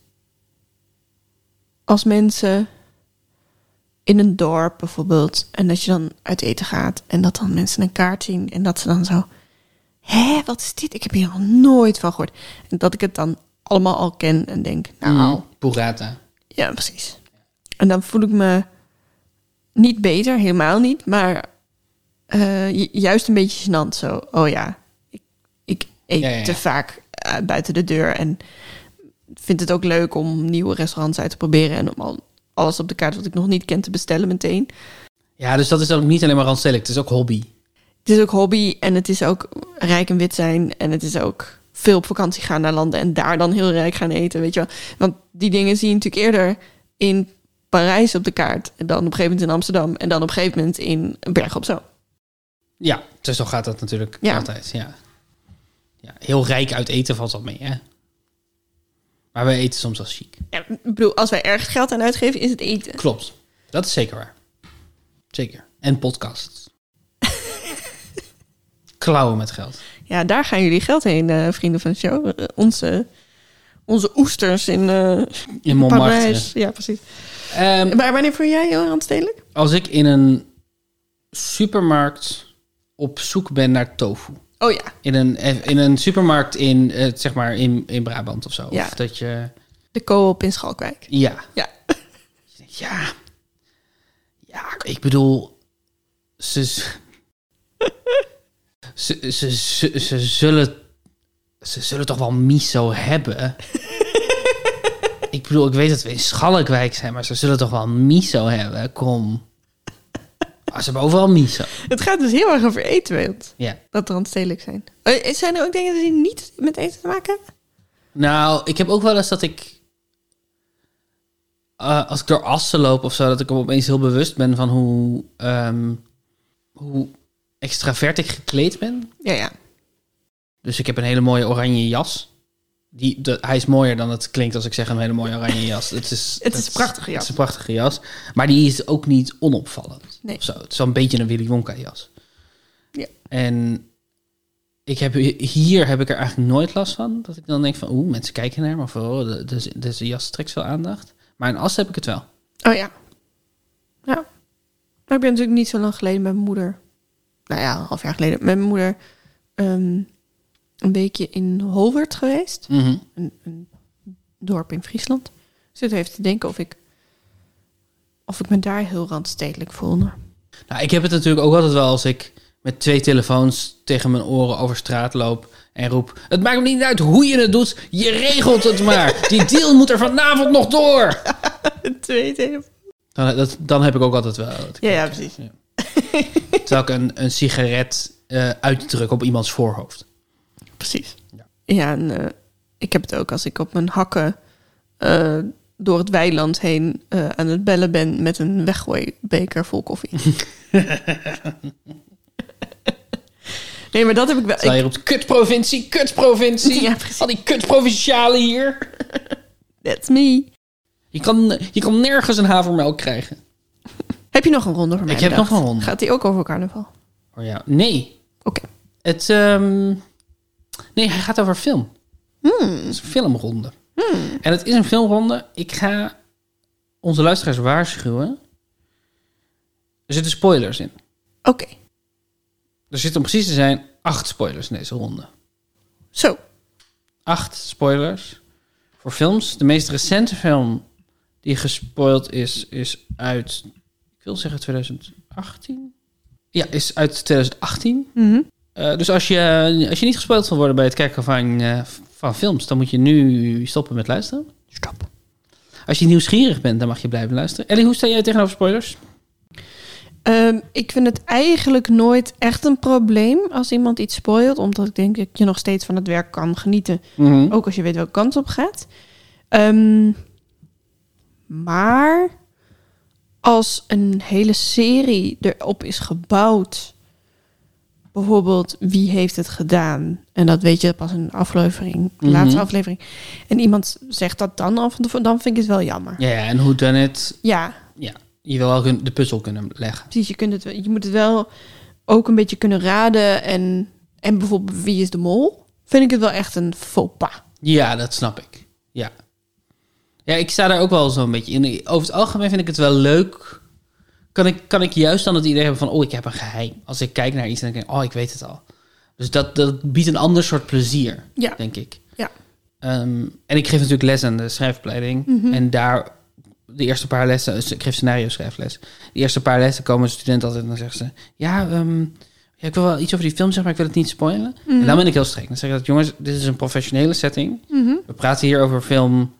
A: als mensen in een dorp bijvoorbeeld en dat je dan uit eten gaat en dat dan mensen een kaart zien en dat ze dan zo, hè, wat is dit? Ik heb hier nog nooit van gehoord. En dat ik het dan allemaal al ken en denk, nou,
B: Mhm. Burrata.
A: ja, precies. En dan voel ik me niet beter, helemaal niet, maar eh, ju- juist een beetje gênant. Zo, oh ja, ik, ik eet
B: Ja, ja, ja.
A: te vaak eh, buiten de deur en vind het ook leuk om nieuwe restaurants uit te proberen en om al, alles op de kaart wat ik nog niet ken te bestellen meteen.
B: Ja, dus dat is dan ook niet alleen maar randstedelijk, het is ook hobby.
A: Het is ook hobby en het is ook rijk en wit zijn en het is ook veel op vakantie gaan naar landen en daar dan heel rijk gaan eten, weet je wel. Want die dingen zie je natuurlijk eerder in Parijs op de kaart en dan op een gegeven moment in Amsterdam en dan op een gegeven moment in Berg op Zoom.
B: Ja, dus zo gaat dat natuurlijk
A: Ja.
B: altijd. Ja. Ja, heel rijk uit eten valt wel mee, hè? Maar wij eten soms wel chic.
A: Ja, ik bedoel, als wij ergens geld aan uitgeven, is het eten.
B: Klopt. Dat is zeker waar. Zeker. En podcasts. Klauwen met geld.
A: Ja, daar gaan jullie geld heen, eh, vrienden van de show. Eh, Onze, onze oesters in eh,
B: In Montmartre.
A: Parijs. Ja, precies.
B: Ehm,
A: Maar wanneer voel jij heel randstedelijk?
B: als ik in een supermarkt op zoek ben naar tofu.
A: Oh ja,
B: In een, in een supermarkt in, eh, zeg maar in, in Brabant of zo.
A: Ja.
B: Of dat je...
A: de co-op in Schalkwijk.
B: Ja,
A: Ja.
B: Ja. Ja, ik bedoel... Ze, z- ze, ze, ze, ze zullen... Ze zullen toch wel miso hebben? ik bedoel, ik weet dat we in Schalkwijk zijn... maar ze zullen toch wel miso hebben? Kom. Ah, ze hebben overal miso.
A: Het gaat dus heel erg over eten, weet.
B: Ja.
A: dat randstedelijk zijn. Eh, Zijn er ook dingen die niet met eten te maken hebben?
B: Nou, ik heb ook wel eens dat ik... eh, als ik door Assen loop of zo... dat ik opeens heel bewust ben van hoe... ehm, hoe extravert ik gekleed ben.
A: Ja, ja.
B: Dus ik heb een hele mooie oranje jas. Die, de, hij is mooier dan het klinkt als ik zeg een hele mooie oranje jas. Het is,
A: Het is een prachtige
B: Het
A: jas.
B: is een prachtige jas. Maar die is ook niet onopvallend.
A: Nee.
B: Of zo. Het is wel een beetje een Willy Wonka jas.
A: Ja.
B: En ik heb, hier heb ik er eigenlijk nooit last van. Dat ik dan denk van, oeh, mensen kijken naar me. Of, oh, de- deze- deze jas trekt veel aandacht. Maar in As heb ik het wel.
A: Oh ja. Ja. Maar ik ben natuurlijk niet zo lang geleden met mijn moeder. Nou ja, een half jaar geleden. Met mijn moeder ehm, een weekje in Holwert geweest.
B: Mhm.
A: Een, een dorp in Friesland. Dus het heeft te denken of ik, of ik me daar heel randstedelijk voelde.
B: Nou, ik heb het natuurlijk ook altijd wel als ik met twee telefoons tegen mijn oren over straat loop en roep: Het maakt me niet uit hoe je het doet, je regelt het maar. Die deal moet er vanavond nog door.
A: Twee telefoons.
B: Dan, dat, dan heb ik ook altijd wel. dat ik-
A: Ja, ja, precies.
B: Terwijl ik een, een sigaret eh uitdruk op iemands voorhoofd.
A: Precies.
B: Ja.
A: Ja, en eh, ik heb het ook als ik op mijn hakken eh, door het weiland heen eh, aan het bellen ben met een weggooibeker vol koffie. nee, maar dat heb ik wel.
B: Terwijl
A: Ik,
B: je roept: Kutprovincie, kutprovincie.
A: Ja, precies.
B: Al die kutprovincialen hier.
A: that's me.
B: Je kan, je kan nergens een havermelk krijgen.
A: Heb je nog een ronde voor mij?
B: Ik heb
A: bedacht?
B: nog een ronde.
A: Gaat die ook over carnaval?
B: Oh ja, nee.
A: Oké.
B: Het, ehm, nee, hij gaat over film. Het is een filmronde. En het is een filmronde. Ik ga onze luisteraars waarschuwen. Er zitten spoilers in.
A: Oké.
B: Er zitten om precies te zijn acht spoilers in deze ronde.
A: Zo.
B: Acht spoilers voor films. De meest recente film die gespoild is, is uit... Ik wil zeggen 2018? Ja, is uit 2018.
A: Mhm.
B: Eh, dus als je, als je niet gespeeld wil worden bij het kijken van, eh, van films, dan moet je nu stoppen met luisteren.
A: Stop.
B: Als je nieuwsgierig bent, dan mag je blijven luisteren. Ellie, hoe sta jij tegenover spoilers?
A: Ehm, ik vind het eigenlijk nooit echt een probleem als iemand iets spoilt, omdat ik denk dat je nog steeds van het werk kan genieten.
B: Hm? Oh.
A: Ook als je weet welke kant op gaat. Ehm, maar als een hele serie erop is gebouwd. Bijvoorbeeld, wie heeft het gedaan? En dat weet je pas in een aflevering, de
B: Mhm.
A: laatste aflevering. En iemand zegt dat dan al, van tevoren, dan vind ik het wel jammer. Ja,
B: Ja, ja, en hoe dan het?
A: ja
B: Ja, je wil wel kun- de puzzel kunnen leggen.
A: precies. Je, kunt het, wel- je moet het wel ook een beetje kunnen raden. En, en bijvoorbeeld, wie is de mol? Vind ik het wel echt een faux pas.
B: Ja, dat snap ik. Ja. Ja, ik sta daar ook wel zo'n beetje in. Over het algemeen vind ik het wel leuk. Kan ik, kan ik juist dan het idee hebben van, oh, ik heb een geheim. Als ik kijk naar iets en ik denk, oh, ik weet het al. Dus dat, dat biedt een ander soort plezier,
A: Ja.
B: denk ik.
A: Ja.
B: Ehm, en ik geef natuurlijk les aan de schrijfopleiding.
A: Mhm.
B: En daar, de eerste paar lessen, dus ik geef scenario schrijfles. De eerste paar lessen komen studenten altijd en dan zeggen ze... Ja, ehm, ja, ik wil wel iets over die film zeggen, maar ik wil het niet spoilen.
A: Mhm.
B: En dan ben ik heel streng. Dan zeg ik dat, jongens, dit is een professionele setting.
A: Mhm.
B: We praten hier over film...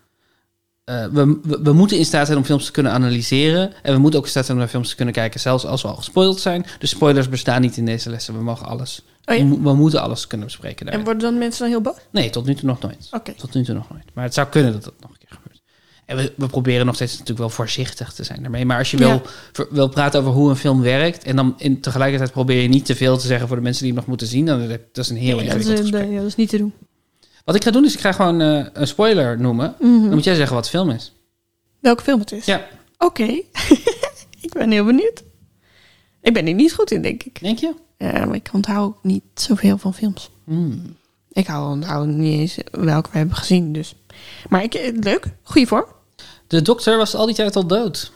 B: eh, we, we, we moeten in staat zijn om films te kunnen analyseren. En we moeten ook in staat zijn om naar films te kunnen kijken, zelfs als we al gespoild zijn. Dus spoilers bestaan niet in deze lessen. We mogen alles.
A: Oh ja.
B: we, mo- we moeten alles kunnen bespreken. Daar.
A: En worden dan mensen dan heel boos?
B: Nee, tot nu toe nog nooit.
A: Oké.
B: Tot nu toe nog nooit. Maar het zou kunnen dat dat nog een keer gebeurt. En we, we proberen nog steeds natuurlijk wel voorzichtig te zijn daarmee. Maar als je
A: Ja.
B: wil, ver- wil praten over hoe een film werkt... en dan in, tegelijkertijd probeer je niet te veel te zeggen... voor de mensen die hem nog moeten zien... dan dat is een heel
A: Nee, dat, is, eh,
B: ingewikkeld gesprek.
A: nee, dat is niet te doen.
B: Wat ik ga doen is, ik ga gewoon eh, een spoiler noemen.
A: Mhm.
B: Dan moet jij zeggen wat de film is.
A: Welke film het is?
B: Ja,
A: Oké. ik ben heel benieuwd. Ik ben hier niet goed in, denk ik.
B: denk je?
A: Ja, maar ik onthoud niet zoveel van films.
B: Hmm.
A: Ik hou- onthoud niet eens welke we hebben gezien, dus. Maar ik, eh, leuk. Goeie vorm.
B: De dokter was al die tijd al dood.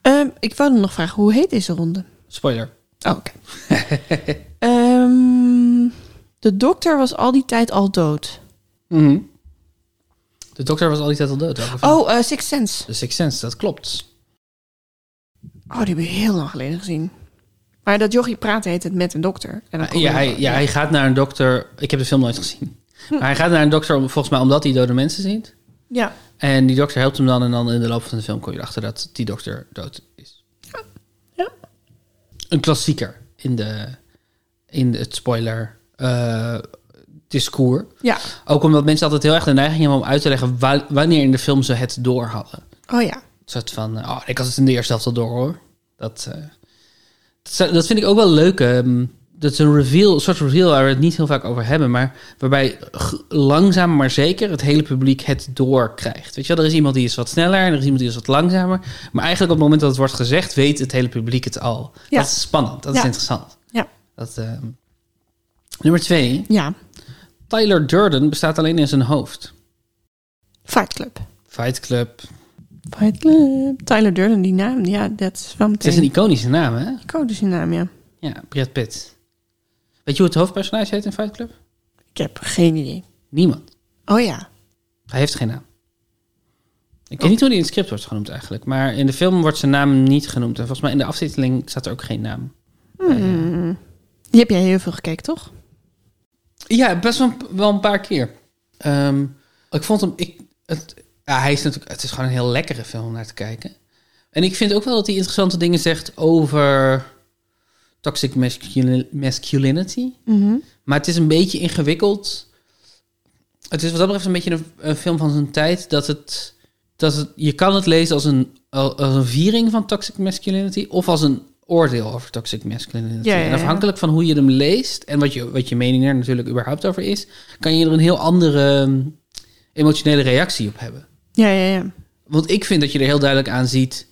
A: Ehm, ik wou nog vragen, hoe heet deze ronde?
B: Spoiler.
A: Oh, oké. Ehm, de dokter was al die tijd al dood.
B: Mhm. De dokter was al die tijd al dood. Welke film?
A: Oh, eh Sixth Sense.
B: The Sixth Sense, dat klopt.
A: Oh, die hebben we heel lang geleden gezien. Maar dat jochie praat heet het met een dokter. En dan kom
B: Ah, Eh, Ja
A: je Hm.
B: hij,
A: nog-
B: ja, hij gaat naar een dokter. Ik heb de film nooit gezien. Maar hij gaat naar een dokter om, volgens mij omdat hij dode mensen ziet.
A: ja.
B: En die dokter helpt hem dan. En dan in de loop van de film kom je erachter dat die dokter dood is.
A: Ja.
B: Een klassieker in, de, in het spoiler eh, discours.
A: Ja.
B: Ook omdat mensen altijd heel erg de neiging hebben om uit te leggen wa- wanneer in de film ze het door hadden.
A: Oh ja.
B: Een soort van, eh, oh, ik had het in de eerste helft al door hoor. Dat, eh, dat, zou- dat vind ik ook wel leuk. ehm, dat is een reveal, een soort reveal waar we het niet heel vaak over hebben, maar waarbij g- langzaam maar zeker het hele publiek het doorkrijgt. Weet je wel, er is iemand die is wat sneller en er is iemand die is wat langzamer, maar eigenlijk op het moment dat het wordt gezegd, weet het hele publiek het al.
A: Ja.
B: Dat is spannend, dat
A: Ja.
B: is interessant.
A: Ja.
B: Dat, ehm, nummer twee,
A: Ja,
B: Tyler Durden bestaat alleen in zijn hoofd.
A: Fight Club.
B: Fight Club.
A: Fight Club. Tyler Durden, die naam. Ja, dat is wel
B: Het is
A: meteen.
B: een iconische naam, hè?
A: Ik hoor dus die naam, ja.
B: Ja, Brad Pitt. Weet je hoe het hoofdpersonage heet in Fight Club?
A: Ik heb geen idee.
B: Niemand.
A: Oh ja.
B: Hij heeft geen naam. Ik weet niet hoe hij in het script wordt genoemd eigenlijk. Maar in de film wordt zijn naam niet genoemd. En volgens mij in de aftiteling staat er ook geen naam.
A: Mm. Die heb jij heel veel gekeken, toch?
B: Ja, best wel, wel een paar keer. Ehm, ik vond hem... Ik, het, ja, hij is natuurlijk, het is gewoon een heel lekkere film om naar te kijken. En ik vind ook wel dat hij interessante dingen zegt over toxic masculi- masculinity.
A: Mhm.
B: Maar het is een beetje ingewikkeld. Het is wat dat betreft een beetje een, een film van zijn tijd. Dat het, dat het, je kan het lezen als een, als een viering van toxic masculinity. Of als een oordeel over toxic masculinity.
A: Ja, ja, ja.
B: En afhankelijk van hoe je hem leest. En wat je, wat je mening er natuurlijk überhaupt over is. Kan je er een heel andere ehm, emotionele reactie op hebben.
A: Ja, ja, ja.
B: Want ik vind dat je er heel duidelijk aan ziet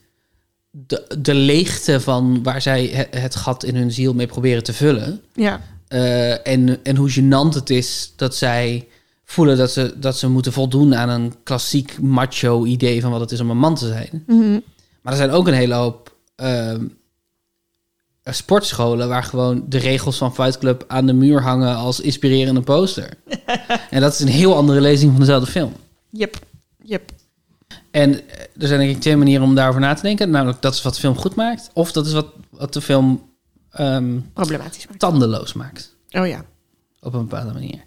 B: de, de leegte van waar zij he- het gat in hun ziel mee proberen te vullen.
A: Ja.
B: Eh, en, en hoe gênant het is dat zij voelen dat ze, dat ze moeten voldoen aan een klassiek macho idee van wat het is om een man te zijn.
A: Mhm.
B: Maar er zijn ook een hele hoop ehm, eh, sportscholen waar gewoon de regels van Fight Club aan de muur hangen als inspirerende poster. en dat is een heel andere lezing van dezelfde film.
A: Yep. Yep.
B: En eh, er zijn denk ik twee manieren om daarover na te denken. Namelijk, dat is wat de film goed maakt. Of dat is wat, wat de film ehm,
A: Problematisch maar.
B: tandeloos maakt.
A: Oh ja.
B: Op een bepaalde manier.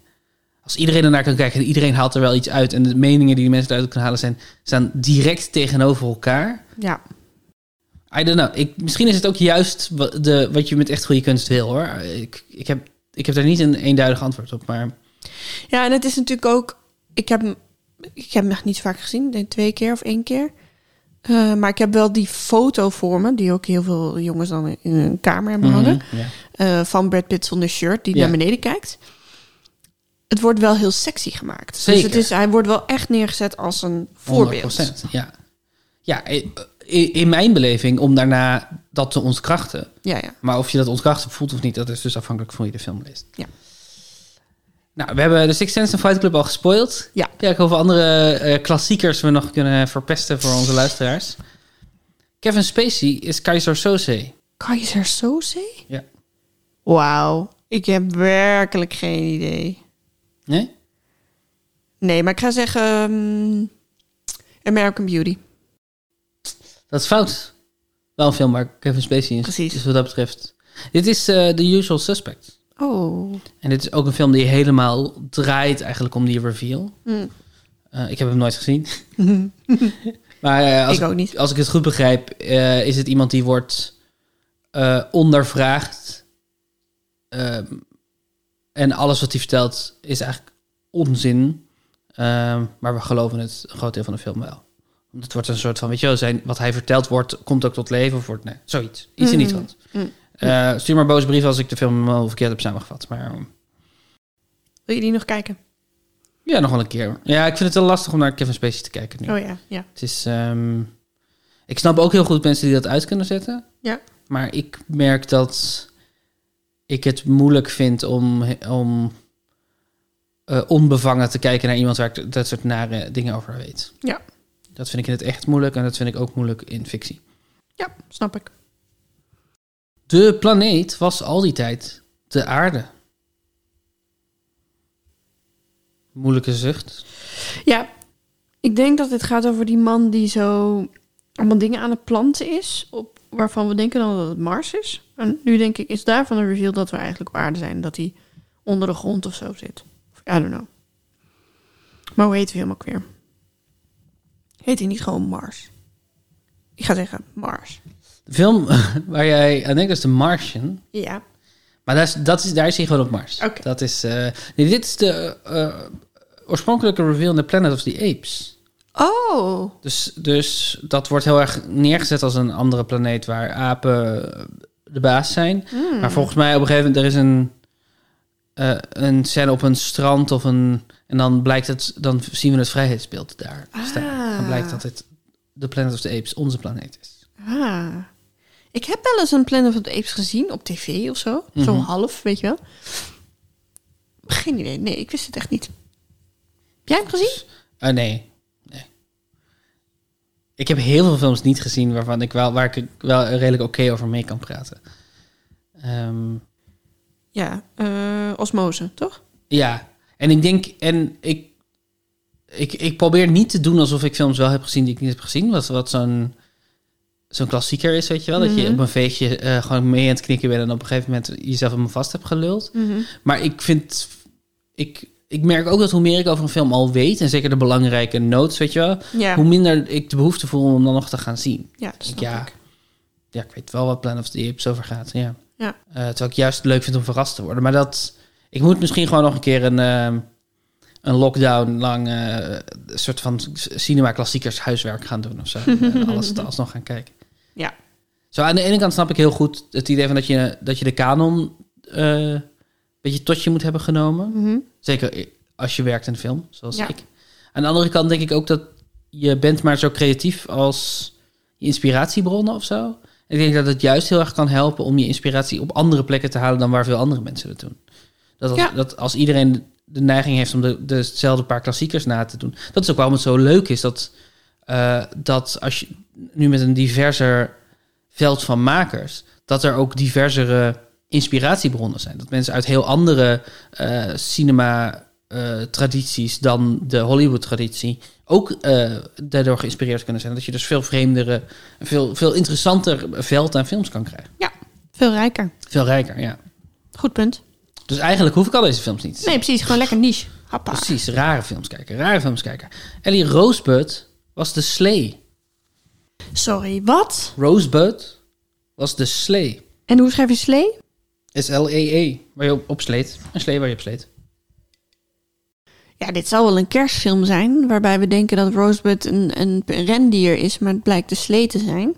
B: Als iedereen ernaar kan kijken en iedereen haalt er wel iets uit. En de meningen die de mensen eruit kunnen halen zijn, staan direct tegenover elkaar.
A: Ja.
B: I don't know. Ik, misschien is het ook juist wa- de, wat je met echt goede kunst wil hoor. Ik, ik, heb, ik heb daar niet een eenduidig antwoord op. Maar
A: Ja, en het is natuurlijk ook... Ik heb, hem- ik heb hem echt niet zo vaak gezien. Ik denk twee keer of één keer. Eh, maar ik heb wel die foto voor me... die ook heel veel jongens dan in hun kamer hebben hangen.
B: Mhm, ja.
A: eh, van Brad Pitt zonder shirt die
B: Ja.
A: naar beneden kijkt. Het wordt wel heel sexy gemaakt.
B: Zeker.
A: Dus het is, hij wordt wel echt neergezet als een voorbeeld.
B: 100%, Ja, ja i- i- in mijn beleving om daarna dat te ontkrachten.
A: Ja, ja.
B: Maar of je dat ontkrachten voelt of niet, dat is dus afhankelijk van hoe je de film leest.
A: Ja.
B: Nou, we hebben de Sixth Sense en Fight Club al gespoild.
A: Ja.
B: Kijken hoeveel andere eh, klassiekers we nog kunnen verpesten voor onze luisteraars. Kevin Spacey is Keizer Sose.
A: Kaiser Sose?
B: Ja.
A: Wauw. Ik heb werkelijk geen idee.
B: Nee?
A: Nee, maar ik ga zeggen... ehm, American Beauty.
B: Dat is fout. Wel een film waar Kevin Spacey in zit.
A: Precies.
B: Dus wat dat betreft. Dit is eh, The Usual Suspect.
A: Oh.
B: En dit is ook een film die helemaal draait eigenlijk om die reveal.
A: Mm.
B: Eh, ik heb hem nooit gezien. maar eh, als,
A: Ik ook niet.
B: als ik het goed begrijp, eh, is het iemand die wordt eh, ondervraagd. Ehm, en alles wat hij vertelt is eigenlijk onzin. Ehm, maar we geloven het een groot deel van de film wel. Want Het wordt een soort van, weet je wel, zijn, wat hij verteld wordt, komt ook tot leven of wordt, nee, zoiets. Iets in
A: Mm.
B: niet rond.
A: Mm.
B: Eh, stuur maar boze brief als ik de film helemaal verkeerd heb samengevat. Maar ehm,
A: Wil je die nog kijken?
B: ja, nog wel een keer. Ja, ik vind het wel lastig om naar Kevin Spacey te kijken nu.
A: Oh ja, ja.
B: Het is. ehm, ik snap ook heel goed mensen die dat uit kunnen zetten.
A: Ja.
B: Maar ik merk dat ik het moeilijk vind om, om eh, onbevangen te kijken naar iemand waar ik d- dat soort nare dingen over weet.
A: Ja.
B: Dat vind ik in het echt moeilijk en dat vind ik ook moeilijk in fictie.
A: Ja, snap ik.
B: De planeet was al die tijd de aarde. Moeilijke zucht.
A: Ja, ik denk dat het gaat over die man die zo allemaal dingen aan het planten is, op, waarvan we denken dan dat het Mars is. En nu denk ik, is daarvan een reveal dat we eigenlijk op aarde zijn, dat hij onder de grond of zo zit. Of, I don't know. Maar hoe heet hij helemaal ook weer? Heet hij niet gewoon Mars? Ik ga zeggen Mars.
B: De film waar jij aan denkt is The Martian.
A: Ja.
B: Maar daar is, dat is, daar is hij gewoon op Mars.
A: Oké.
B: Dat is, eh, nee, dit is de eh, oorspronkelijke reveal in The Planet of the Apes.
A: Oh.
B: Dus, dus dat wordt heel erg neergezet als een andere planeet waar apen eh, de baas zijn.
A: Hmm.
B: Maar volgens mij op een gegeven moment, er is een, eh, een scène op een strand of een... En dan blijkt het, dan zien we het vrijheidsbeeld daar staan. Dan
A: Ah.
B: blijkt dat het de Planet of the Apes onze planeet is.
A: Ah. Ik heb wel eens een Planet of the Apes gezien op tv of zo.
B: Mhm.
A: Zo'n half, weet je wel. Geen idee. Nee, ik wist het echt niet. Heb jij hem gezien?
B: Ah, nee. nee. Ik heb heel veel films niet gezien waarvan ik wel, waar ik wel redelijk oké over mee kan praten. Ehm,
A: Ja, eh, Osmose, toch?
B: ja, en ik denk, en ik, ik, ik probeer niet te doen alsof ik films wel heb gezien die ik niet heb gezien. Wat, wat zo'n zo'n klassieker is, weet je wel. Dat je op een feestje eh, gewoon mee aan het knikken bent en op een gegeven moment jezelf helemaal vast hebt geluld.
A: Mhm.
B: Maar ik vind, ik, ik merk ook dat hoe meer ik over een film al weet, en zeker de belangrijke notes, weet je wel,
A: Ja.
B: hoe minder ik de behoefte voel om hem dan nog te gaan zien.
A: Ja, dat snap
B: ja,
A: ik.
B: ja, ik weet wel wat Plan of the Apes over gaat. Ja.
A: Ja.
B: Eh, terwijl ik juist leuk vind om verrast te worden. Maar dat, ik moet misschien gewoon nog een keer een, ehm, een lockdown lang eh, een soort van cinema klassiekers huiswerk gaan doen of zo. en eh, alles alsnog gaan kijken.
A: Ja.
B: Zo aan de ene kant snap ik heel goed het idee van dat je, dat je de kanon eh, een beetje tot je moet hebben genomen.
A: Mhm.
B: Zeker als je werkt in film, zoals
A: Ja.
B: ik. Aan de andere kant denk ik ook dat je bent maar zo creatief als je inspiratiebronnen of zo. Ik denk dat het juist heel erg kan helpen om je inspiratie op andere plekken te halen dan waar veel andere mensen dat doen. Dat als,
A: Ja.
B: dat als iedereen de neiging heeft om de, dezelfde paar klassiekers na te doen. Dat is ook waarom het zo leuk is dat, eh, dat als je nu met een diverser veld van makers, dat er ook diversere inspiratiebronnen zijn. Dat mensen uit heel andere eh, cinema eh, tradities dan de Hollywood-traditie ook eh, daardoor geïnspireerd kunnen zijn. Dat je dus veel vreemdere, veel, veel interessanter veld aan films kan krijgen.
A: ja, veel rijker.
B: Veel rijker, ja.
A: Goed punt.
B: Dus eigenlijk hoef ik al deze films niet te zien.
A: Nee, precies. Gewoon lekker niche. Happa.
B: Precies, rare films kijken, rare films kijken. Ellie Rosebud was de slee.
A: Sorry, wat?
B: Rosebud was de slee.
A: En hoe schrijf je slee?
B: S-L-E-E, E, waar je op, op sleet. Een slee waar je op sleet.
A: Ja, dit zal wel een kerstfilm zijn, waarbij we denken dat Rosebud een, een rendier is, maar het blijkt de slee te zijn.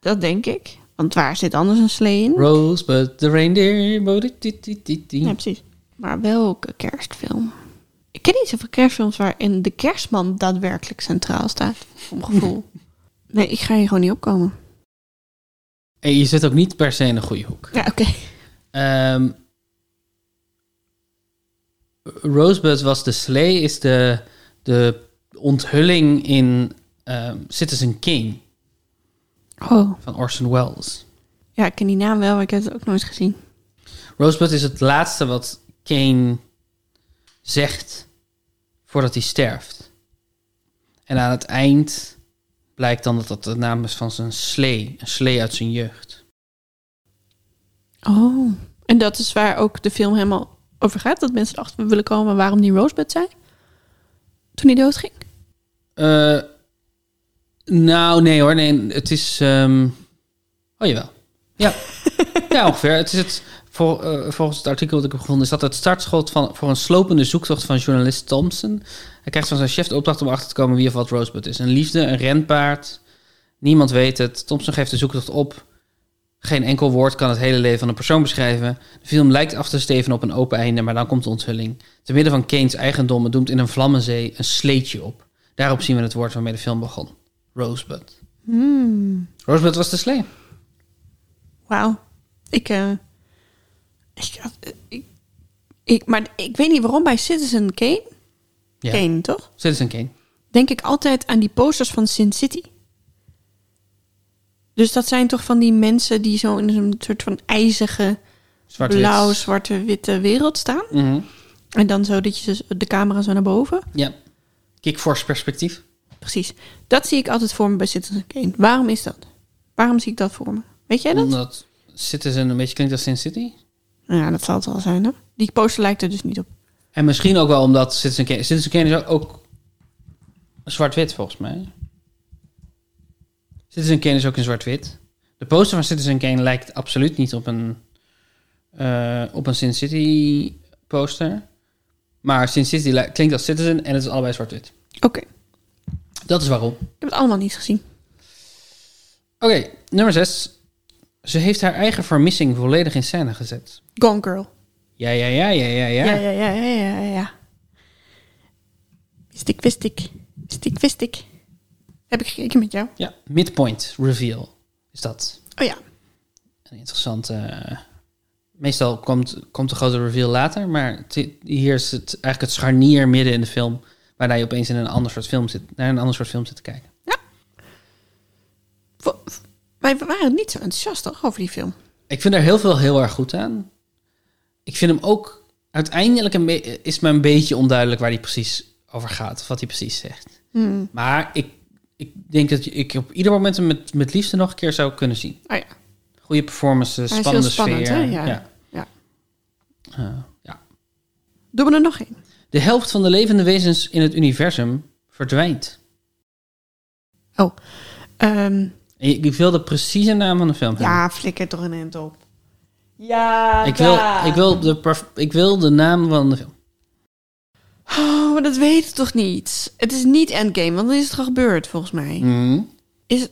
A: Dat denk ik. Want waar zit anders een slee in?
B: Rosebud, the reindeer. bo- di- di- di- di- di.
A: Ja, precies. Maar welke kerstfilm? Ik ken niet zoveel kerstfilms waarin de kerstman daadwerkelijk centraal staat, voor mijn gevoel. nee, ik ga hier gewoon niet opkomen.
B: En je zit ook niet per se in een goede hoek.
A: Ja, oké.
B: Ehm, Rosebud was de slee, is de, de onthulling in ehm, Citizen Kane
A: Oh,
B: van Orson Welles.
A: ja, ik ken die naam wel, maar ik heb het ook nooit gezien.
B: Rosebud is het laatste wat Kane zegt voordat hij sterft. En aan het eind blijkt dan dat dat de naam is van zijn slee, een slee uit zijn jeugd.
A: Oh. En dat is waar ook de film helemaal over gaat, dat mensen erachter willen komen waarom die Rosebud zei? Toen hij doodging?
B: Eh, nou, nee hoor. Nee, het is. ehm Oh jawel. Ja. ja, ongeveer. Het is het, vol- eh, volgens het artikel dat ik heb gevonden, is dat het startschot van, voor een slopende zoektocht van journalist Thompson. Hij krijgt van zijn chef de opdracht om achter te komen wie of wat Rosebud is. Een liefde, een renpaard. Niemand weet het. Thompson geeft de zoektocht op. Geen enkel woord kan het hele leven van een persoon beschrijven. De film lijkt af te steven op een open einde, maar dan komt de onthulling. Te midden van Keynes eigendommen doemt in een vlammenzee een sleetje op. Daarop zien we het woord waarmee de film begon. Rosebud.
A: Hmm.
B: Rosebud was de slee.
A: Wauw. Ik, eh, ik, had- ik, ik- Maar ik weet niet waarom bij Citizen Kane,
B: Ja.
A: Kane toch?
B: Citizen Kane.
A: Denk ik altijd aan die posters van Sin City. Dus dat zijn toch van die mensen die zo in een soort van ijzige,
B: Zwart-wit.
A: blauw, zwarte, witte wereld staan.
B: Mhm.
A: En dan zo dat je zo- de camera zo naar boven.
B: Ja. Kickforce perspectief.
A: Precies. Dat zie ik altijd voor me bij Citizen Kane. Waarom is dat? Waarom zie ik dat voor me? Weet jij dat?
B: Omdat Citizen een beetje klinkt als Sin City.
A: Ja, dat zal het wel zijn, hè? Die poster lijkt er dus niet op.
B: En misschien ook wel omdat Citizen Kane... Citizen Kane is ook- ook zwart-wit volgens mij. Citizen Kane is ook in zwart-wit. De poster van Citizen Kane lijkt absoluut niet op een, eh, op een Sin City poster. Maar Sin City li- klinkt als Citizen en het is allebei zwart-wit.
A: Oké,
B: Dat is waarom.
A: ik heb het allemaal niet gezien.
B: Oké, nummer 6. Ze heeft haar eigen vermissing volledig in scène gezet.
A: Gone Girl.
B: Ja, ja, ja, ja, ja, ja.
A: Ja, ja, ja, ja, ja, ja, ja. Wist ik, wist ik. Wist ik, wist ik. Heb ik gekeken met jou?
B: Ja, midpoint reveal is dat.
A: Oh ja.
B: Een interessante... eh, meestal komt, komt de grote reveal later, maar het- hier is het eigenlijk het scharnier midden in de film... waarna je opeens in een ander soort film zit, naar een ander soort film zit te kijken.
A: Vo- v- Wij waren niet zo enthousiast toch over die film.
B: Ik vind er heel veel heel erg goed aan. Ik vind hem ook... Uiteindelijk een be- is me een beetje onduidelijk waar hij precies over gaat. Of wat hij precies zegt.
A: Hmm.
B: Maar ik, ik denk dat je- ik op ieder moment hem met, met liefste nog een keer zou kunnen zien.
A: Oh ja.
B: Goede performances,
A: Hij is
B: spannende
A: heel spannend,
B: sfeer.
A: hè? Ja.
B: Ja.
A: ja.
B: Eh, ja.
A: Doen we er nog één?
B: De helft van de levende wezens in het universum verdwijnt.
A: Oh. Ehm,
B: En ik, ik wil de precieze naam van de film hebben.
A: ja, flikker toch een end op. Ja,
B: Ik wil, ik, wil de, perf- ik wil de naam van de film.
A: Oh, maar dat weet ik toch niet? Het is niet Endgame, want dan is het al gebeurd, volgens mij.
B: Mhm.
A: Is het...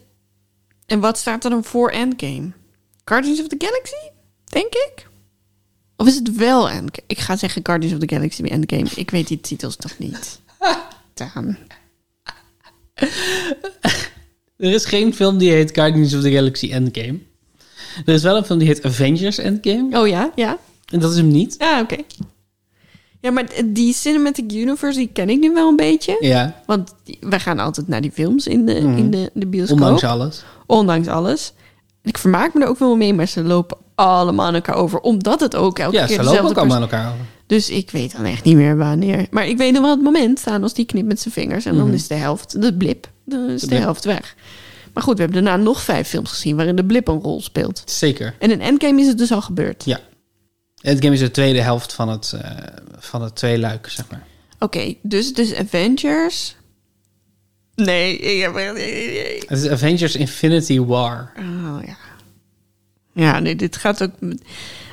A: En wat staat er dan voor Endgame? Guardians of the Galaxy? Denk ik. Of is het wel Endgame? Ik ga zeggen Guardians of the Galaxy Endgame. Ik weet die titels toch niet. Daan.
B: Er is geen film die heet Guardians of the Galaxy Endgame. Er is wel een film die heet Avengers Endgame.
A: Oh ja? Ja?
B: En dat is hem niet.
A: Ja, oké. Ja, maar d- die Cinematic Universe, die ken ik nu wel een beetje.
B: Ja, Mm-hmm.
A: Want die- wij gaan altijd naar die films in de, in de, de bioscoop.
B: ondanks alles.
A: Ondanks alles. Ik vermaak me er ook wel mee, maar ze lopen allemaal aan elkaar over. Omdat het ook elke
B: Ja,
A: keer
B: ze
A: dezelfde
B: lopen ook
A: pers-
B: allemaal aan elkaar over.
A: Dus ik weet dan echt niet meer wanneer. Maar ik weet nog wel het moment staan als die knipt met zijn vingers. En dan is de helft, de blip, dan is de,
B: Mhm. blip.
A: helft weg. Maar goed, we hebben daarna nog vijf films gezien waarin de blip een rol speelt.
B: Zeker.
A: En in Endgame is het dus al gebeurd.
B: Ja. Endgame is de tweede helft van het, eh, van het tweeluik, zeg maar.
A: Oké, dus, dus Avengers. Nee, ik heb echt geen idee.
B: Het is Avengers Infinity War.
A: Oh ja. Ja, nee, dit gaat ook. met-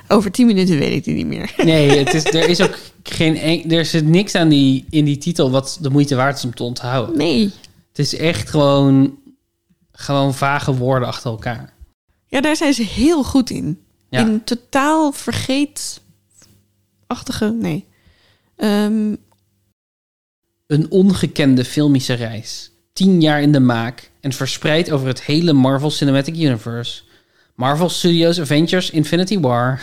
A: Over tien minuten weet ik die niet meer.
B: Nee, het is, er is ook geen... en- Er zit niks aan die, in die titel wat de moeite waard is om te onthouden.
A: Nee.
B: Het is echt gewoon, gewoon vage woorden achter elkaar.
A: Ja, daar zijn ze heel goed in.
B: Ja.
A: In totaal vergeetachtige. Nee. Ehm,
B: Een ongekende filmische reis. Tien jaar in de maak en verspreid over het hele Marvel Cinematic Universe. Marvel Studios Avengers Infinity War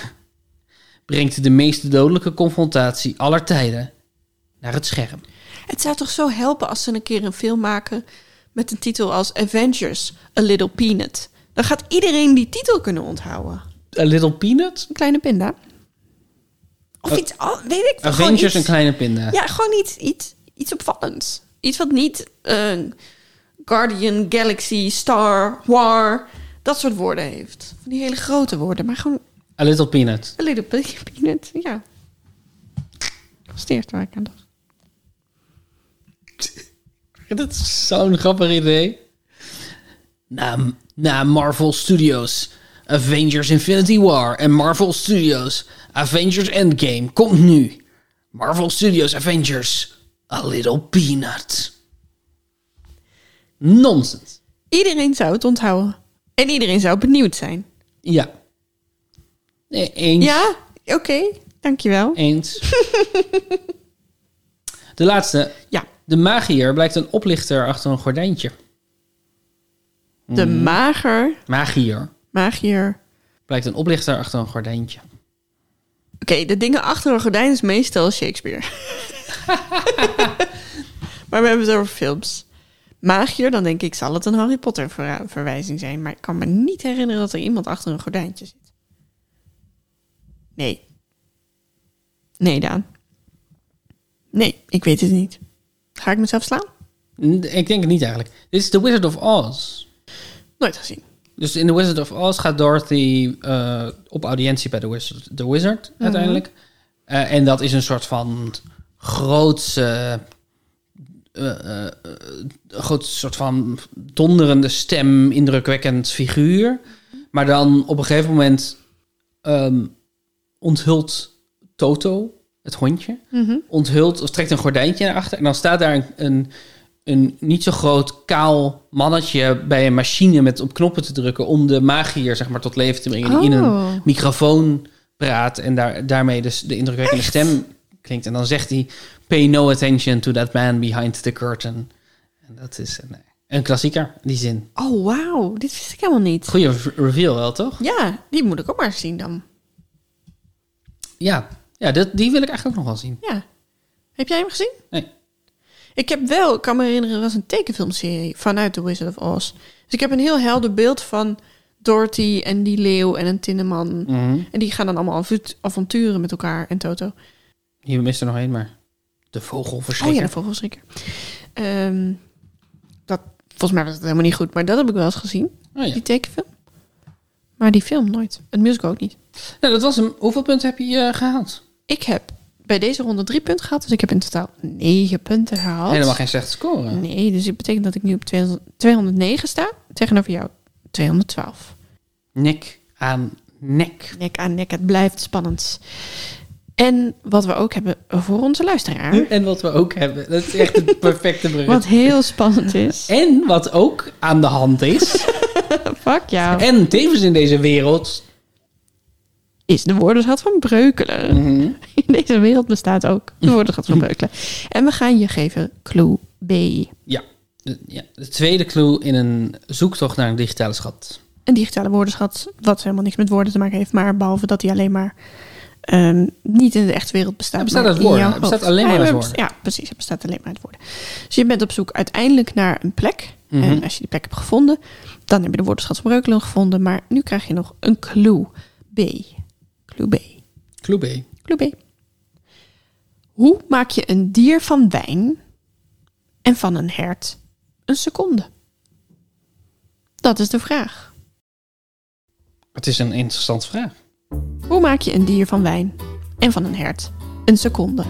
B: brengt de meest dodelijke confrontatie aller tijden naar het scherm.
A: het zou toch zo helpen als ze een keer een film maken met een titel als Avengers, A Little Peanut. Dan gaat iedereen die titel kunnen onthouden.
B: A Little Peanut?
A: Een kleine pinda. Of iets al, weet ik veel, gewoon
B: Avengers
A: iets-
B: en Kleine Pinda.
A: Ja, gewoon iets, iets, iets opvallends. Iets wat niet eh, Guardian, Galaxy, Star, War, dat soort woorden heeft. Van die hele grote woorden, maar gewoon
B: A Little Peanut.
A: A little pe- peanut, ja. Gesteerd waar ik aan dacht.
B: Dat is zo'n grappig idee. Na, na Marvel Studios, Avengers Infinity War en Marvel Studios, Avengers Endgame komt nu. Marvel Studios Avengers, A Little Peanut. Nonsens.
A: Iedereen zou het onthouden. En iedereen zou benieuwd zijn.
B: Ja. Nee, eens.
A: Ja? Oké, dankjewel.
B: Eens. De laatste.
A: Ja,
B: De magier blijkt een oplichter achter een gordijntje.
A: de mager,
B: Magier
A: magier.
B: blijkt een oplichter achter een gordijntje.
A: Oké, de dingen achter een gordijn is meestal Shakespeare. maar we hebben het over films. Magier, dan denk ik, zal het een Harry Potter verra- verwijzing zijn. Maar ik kan me niet herinneren dat er iemand achter een gordijntje zit. Nee. Nee, Daan. Nee, ik weet het niet. Ga ik mezelf slaan?
B: N- Ik denk het niet eigenlijk. Dit is The Wizard of Oz.
A: Nooit gezien.
B: Dus in The Wizard of Oz gaat Dorothy eh, op audiëntie bij The Wizard, the wizard uiteindelijk. Eh, en dat is een soort van grootse... eh, eh, een groot soort van donderende stem, indrukwekkend figuur. Maar dan op een gegeven moment ehm, onthult Toto, het hondje, onthult of trekt een gordijntje naar achter. En dan staat daar een, een een niet zo groot kaal mannetje bij een machine met op knoppen te drukken om de magier zeg maar tot leven te brengen. Die in
A: Oh.
B: een microfoon praat en daar, daarmee dus de indrukwekkende stem klinkt. En dan zegt hij, pay no attention to that man behind the curtain. En dat is een, een klassieker, die zin.
A: Oh, wauw. Dit wist ik helemaal niet.
B: Goeie re- reveal wel, toch?
A: Ja, die moet ik ook maar eens zien dan.
B: Ja, ja dat, die wil ik eigenlijk ook nog wel zien.
A: Ja. Heb jij hem gezien?
B: Nee.
A: Ik heb wel, ik kan me herinneren, er was een tekenfilmserie vanuit The Wizard of Oz. Dus ik heb een heel helder beeld van Dorothy en die leeuw en een tinneman.
B: Mhm.
A: En die gaan dan allemaal avut- avonturen met elkaar en Toto.
B: Hier mist er nog één, maar de
A: Oh ja,
B: vogelverschrikker.
A: de vogelschrikker. Ehm, dat, volgens mij was het helemaal niet goed, maar dat heb ik wel eens gezien.
B: Oh ja.
A: Die tekenfilm. Maar die film nooit. Het musical ook niet.
B: Nou, dat was hem. Hoeveel punten heb je eh, gehaald?
A: Ik heb bij deze ronde drie punten gehad, dus ik heb in totaal negen punten gehaald.
B: Helemaal geen slechte score.
A: Nee, dus dat betekent dat ik nu op 200 209 sta tegenover jou 212.
B: Nek aan nek.
A: Nek aan nek, het blijft spannend. En wat we ook hebben voor onze luisteraar,
B: En wat we ook hebben. Dat is echt het perfecte
A: Hm? wat
B: brug.
A: heel spannend is.
B: En wat ook aan de hand is.
A: Fuck jou.
B: en tevens in deze wereld.
A: is de woordenschat van Breukelen. Hm.
B: Mhm.
A: In deze wereld bestaat ook de woordenschat van Breukelen. En we gaan je geven clue B.
B: Ja. De, ja. de tweede clue in een zoektocht naar een digitale schat.
A: Een digitale woordenschat, wat helemaal niks met woorden te maken heeft, maar behalve dat die alleen maar ehm, niet in de echte wereld bestaat.
B: Hij bestaat
A: maar
B: uit
A: in
B: woorden.
A: jouw
B: Hij bestaat
A: hoofd.
B: alleen maar
A: Hij
B: uit
A: best- Ja, precies. Het bestaat alleen maar uit woorden. Dus je bent op zoek uiteindelijk naar een plek.
B: Mhm.
A: En als je die plek hebt gevonden, dan heb je de woordenschat van Breukelen gevonden. Maar nu krijg je nog een clue B. Clue B.
B: Clue B.
A: Clue B. Hoe maak je een dier van wijn en van een hert een seconde? Dat is de vraag.
B: Het is een interessante vraag.
A: Hoe maak je een dier van wijn en van een hert een seconde?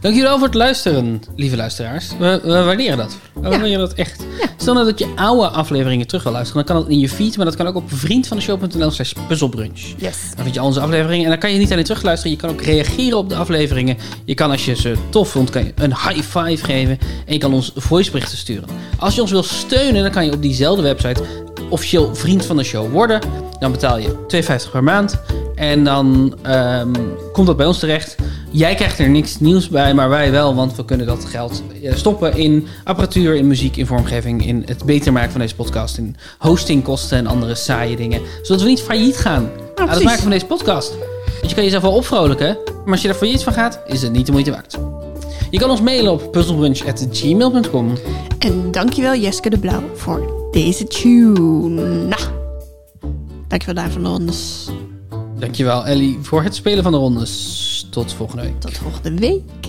B: Dank jullie wel voor het luisteren, lieve luisteraars. We, we waarderen dat. We waarderen dat echt. Stel nou dat je oude afleveringen terug wil luisteren. Dan kan dat in je feed, maar dat kan ook op vriendvandeshow.nl slash puzzelbrunch.
A: Yes.
B: Dan vind je al onze afleveringen. En dan kan je niet alleen terugluisteren, je kan ook reageren op de afleveringen. Je kan als je ze tof vond, kan je een high five geven. En je kan ons voiceberichten sturen. Als je ons wil steunen, dan kan je op diezelfde website officieel vriend van de show worden. Dan betaal je 2,50 per maand. En dan ehm, komt dat bij ons terecht. Jij krijgt er niks nieuws bij, maar wij wel. Want we kunnen dat geld eh, stoppen in apparatuur, in muziek, in vormgeving. In het beter maken van deze podcast. In hostingkosten en andere saaie dingen. Zodat we niet failliet gaan.
A: Ja,
B: Aan het
A: precies.
B: maken van deze podcast. Want je kan jezelf wel opvrolijken, maar als je er voor iets van gaat, is het niet de moeite waard. Je kan ons mailen op puzzelbrunch.gmail.com.
A: En dankjewel Jeske de Blauw voor deze tune. Nou, Dankjewel Daan van de Rondes.
B: Dankjewel Ellie voor het spelen van de rondes. Tot volgende week.
A: Tot volgende week.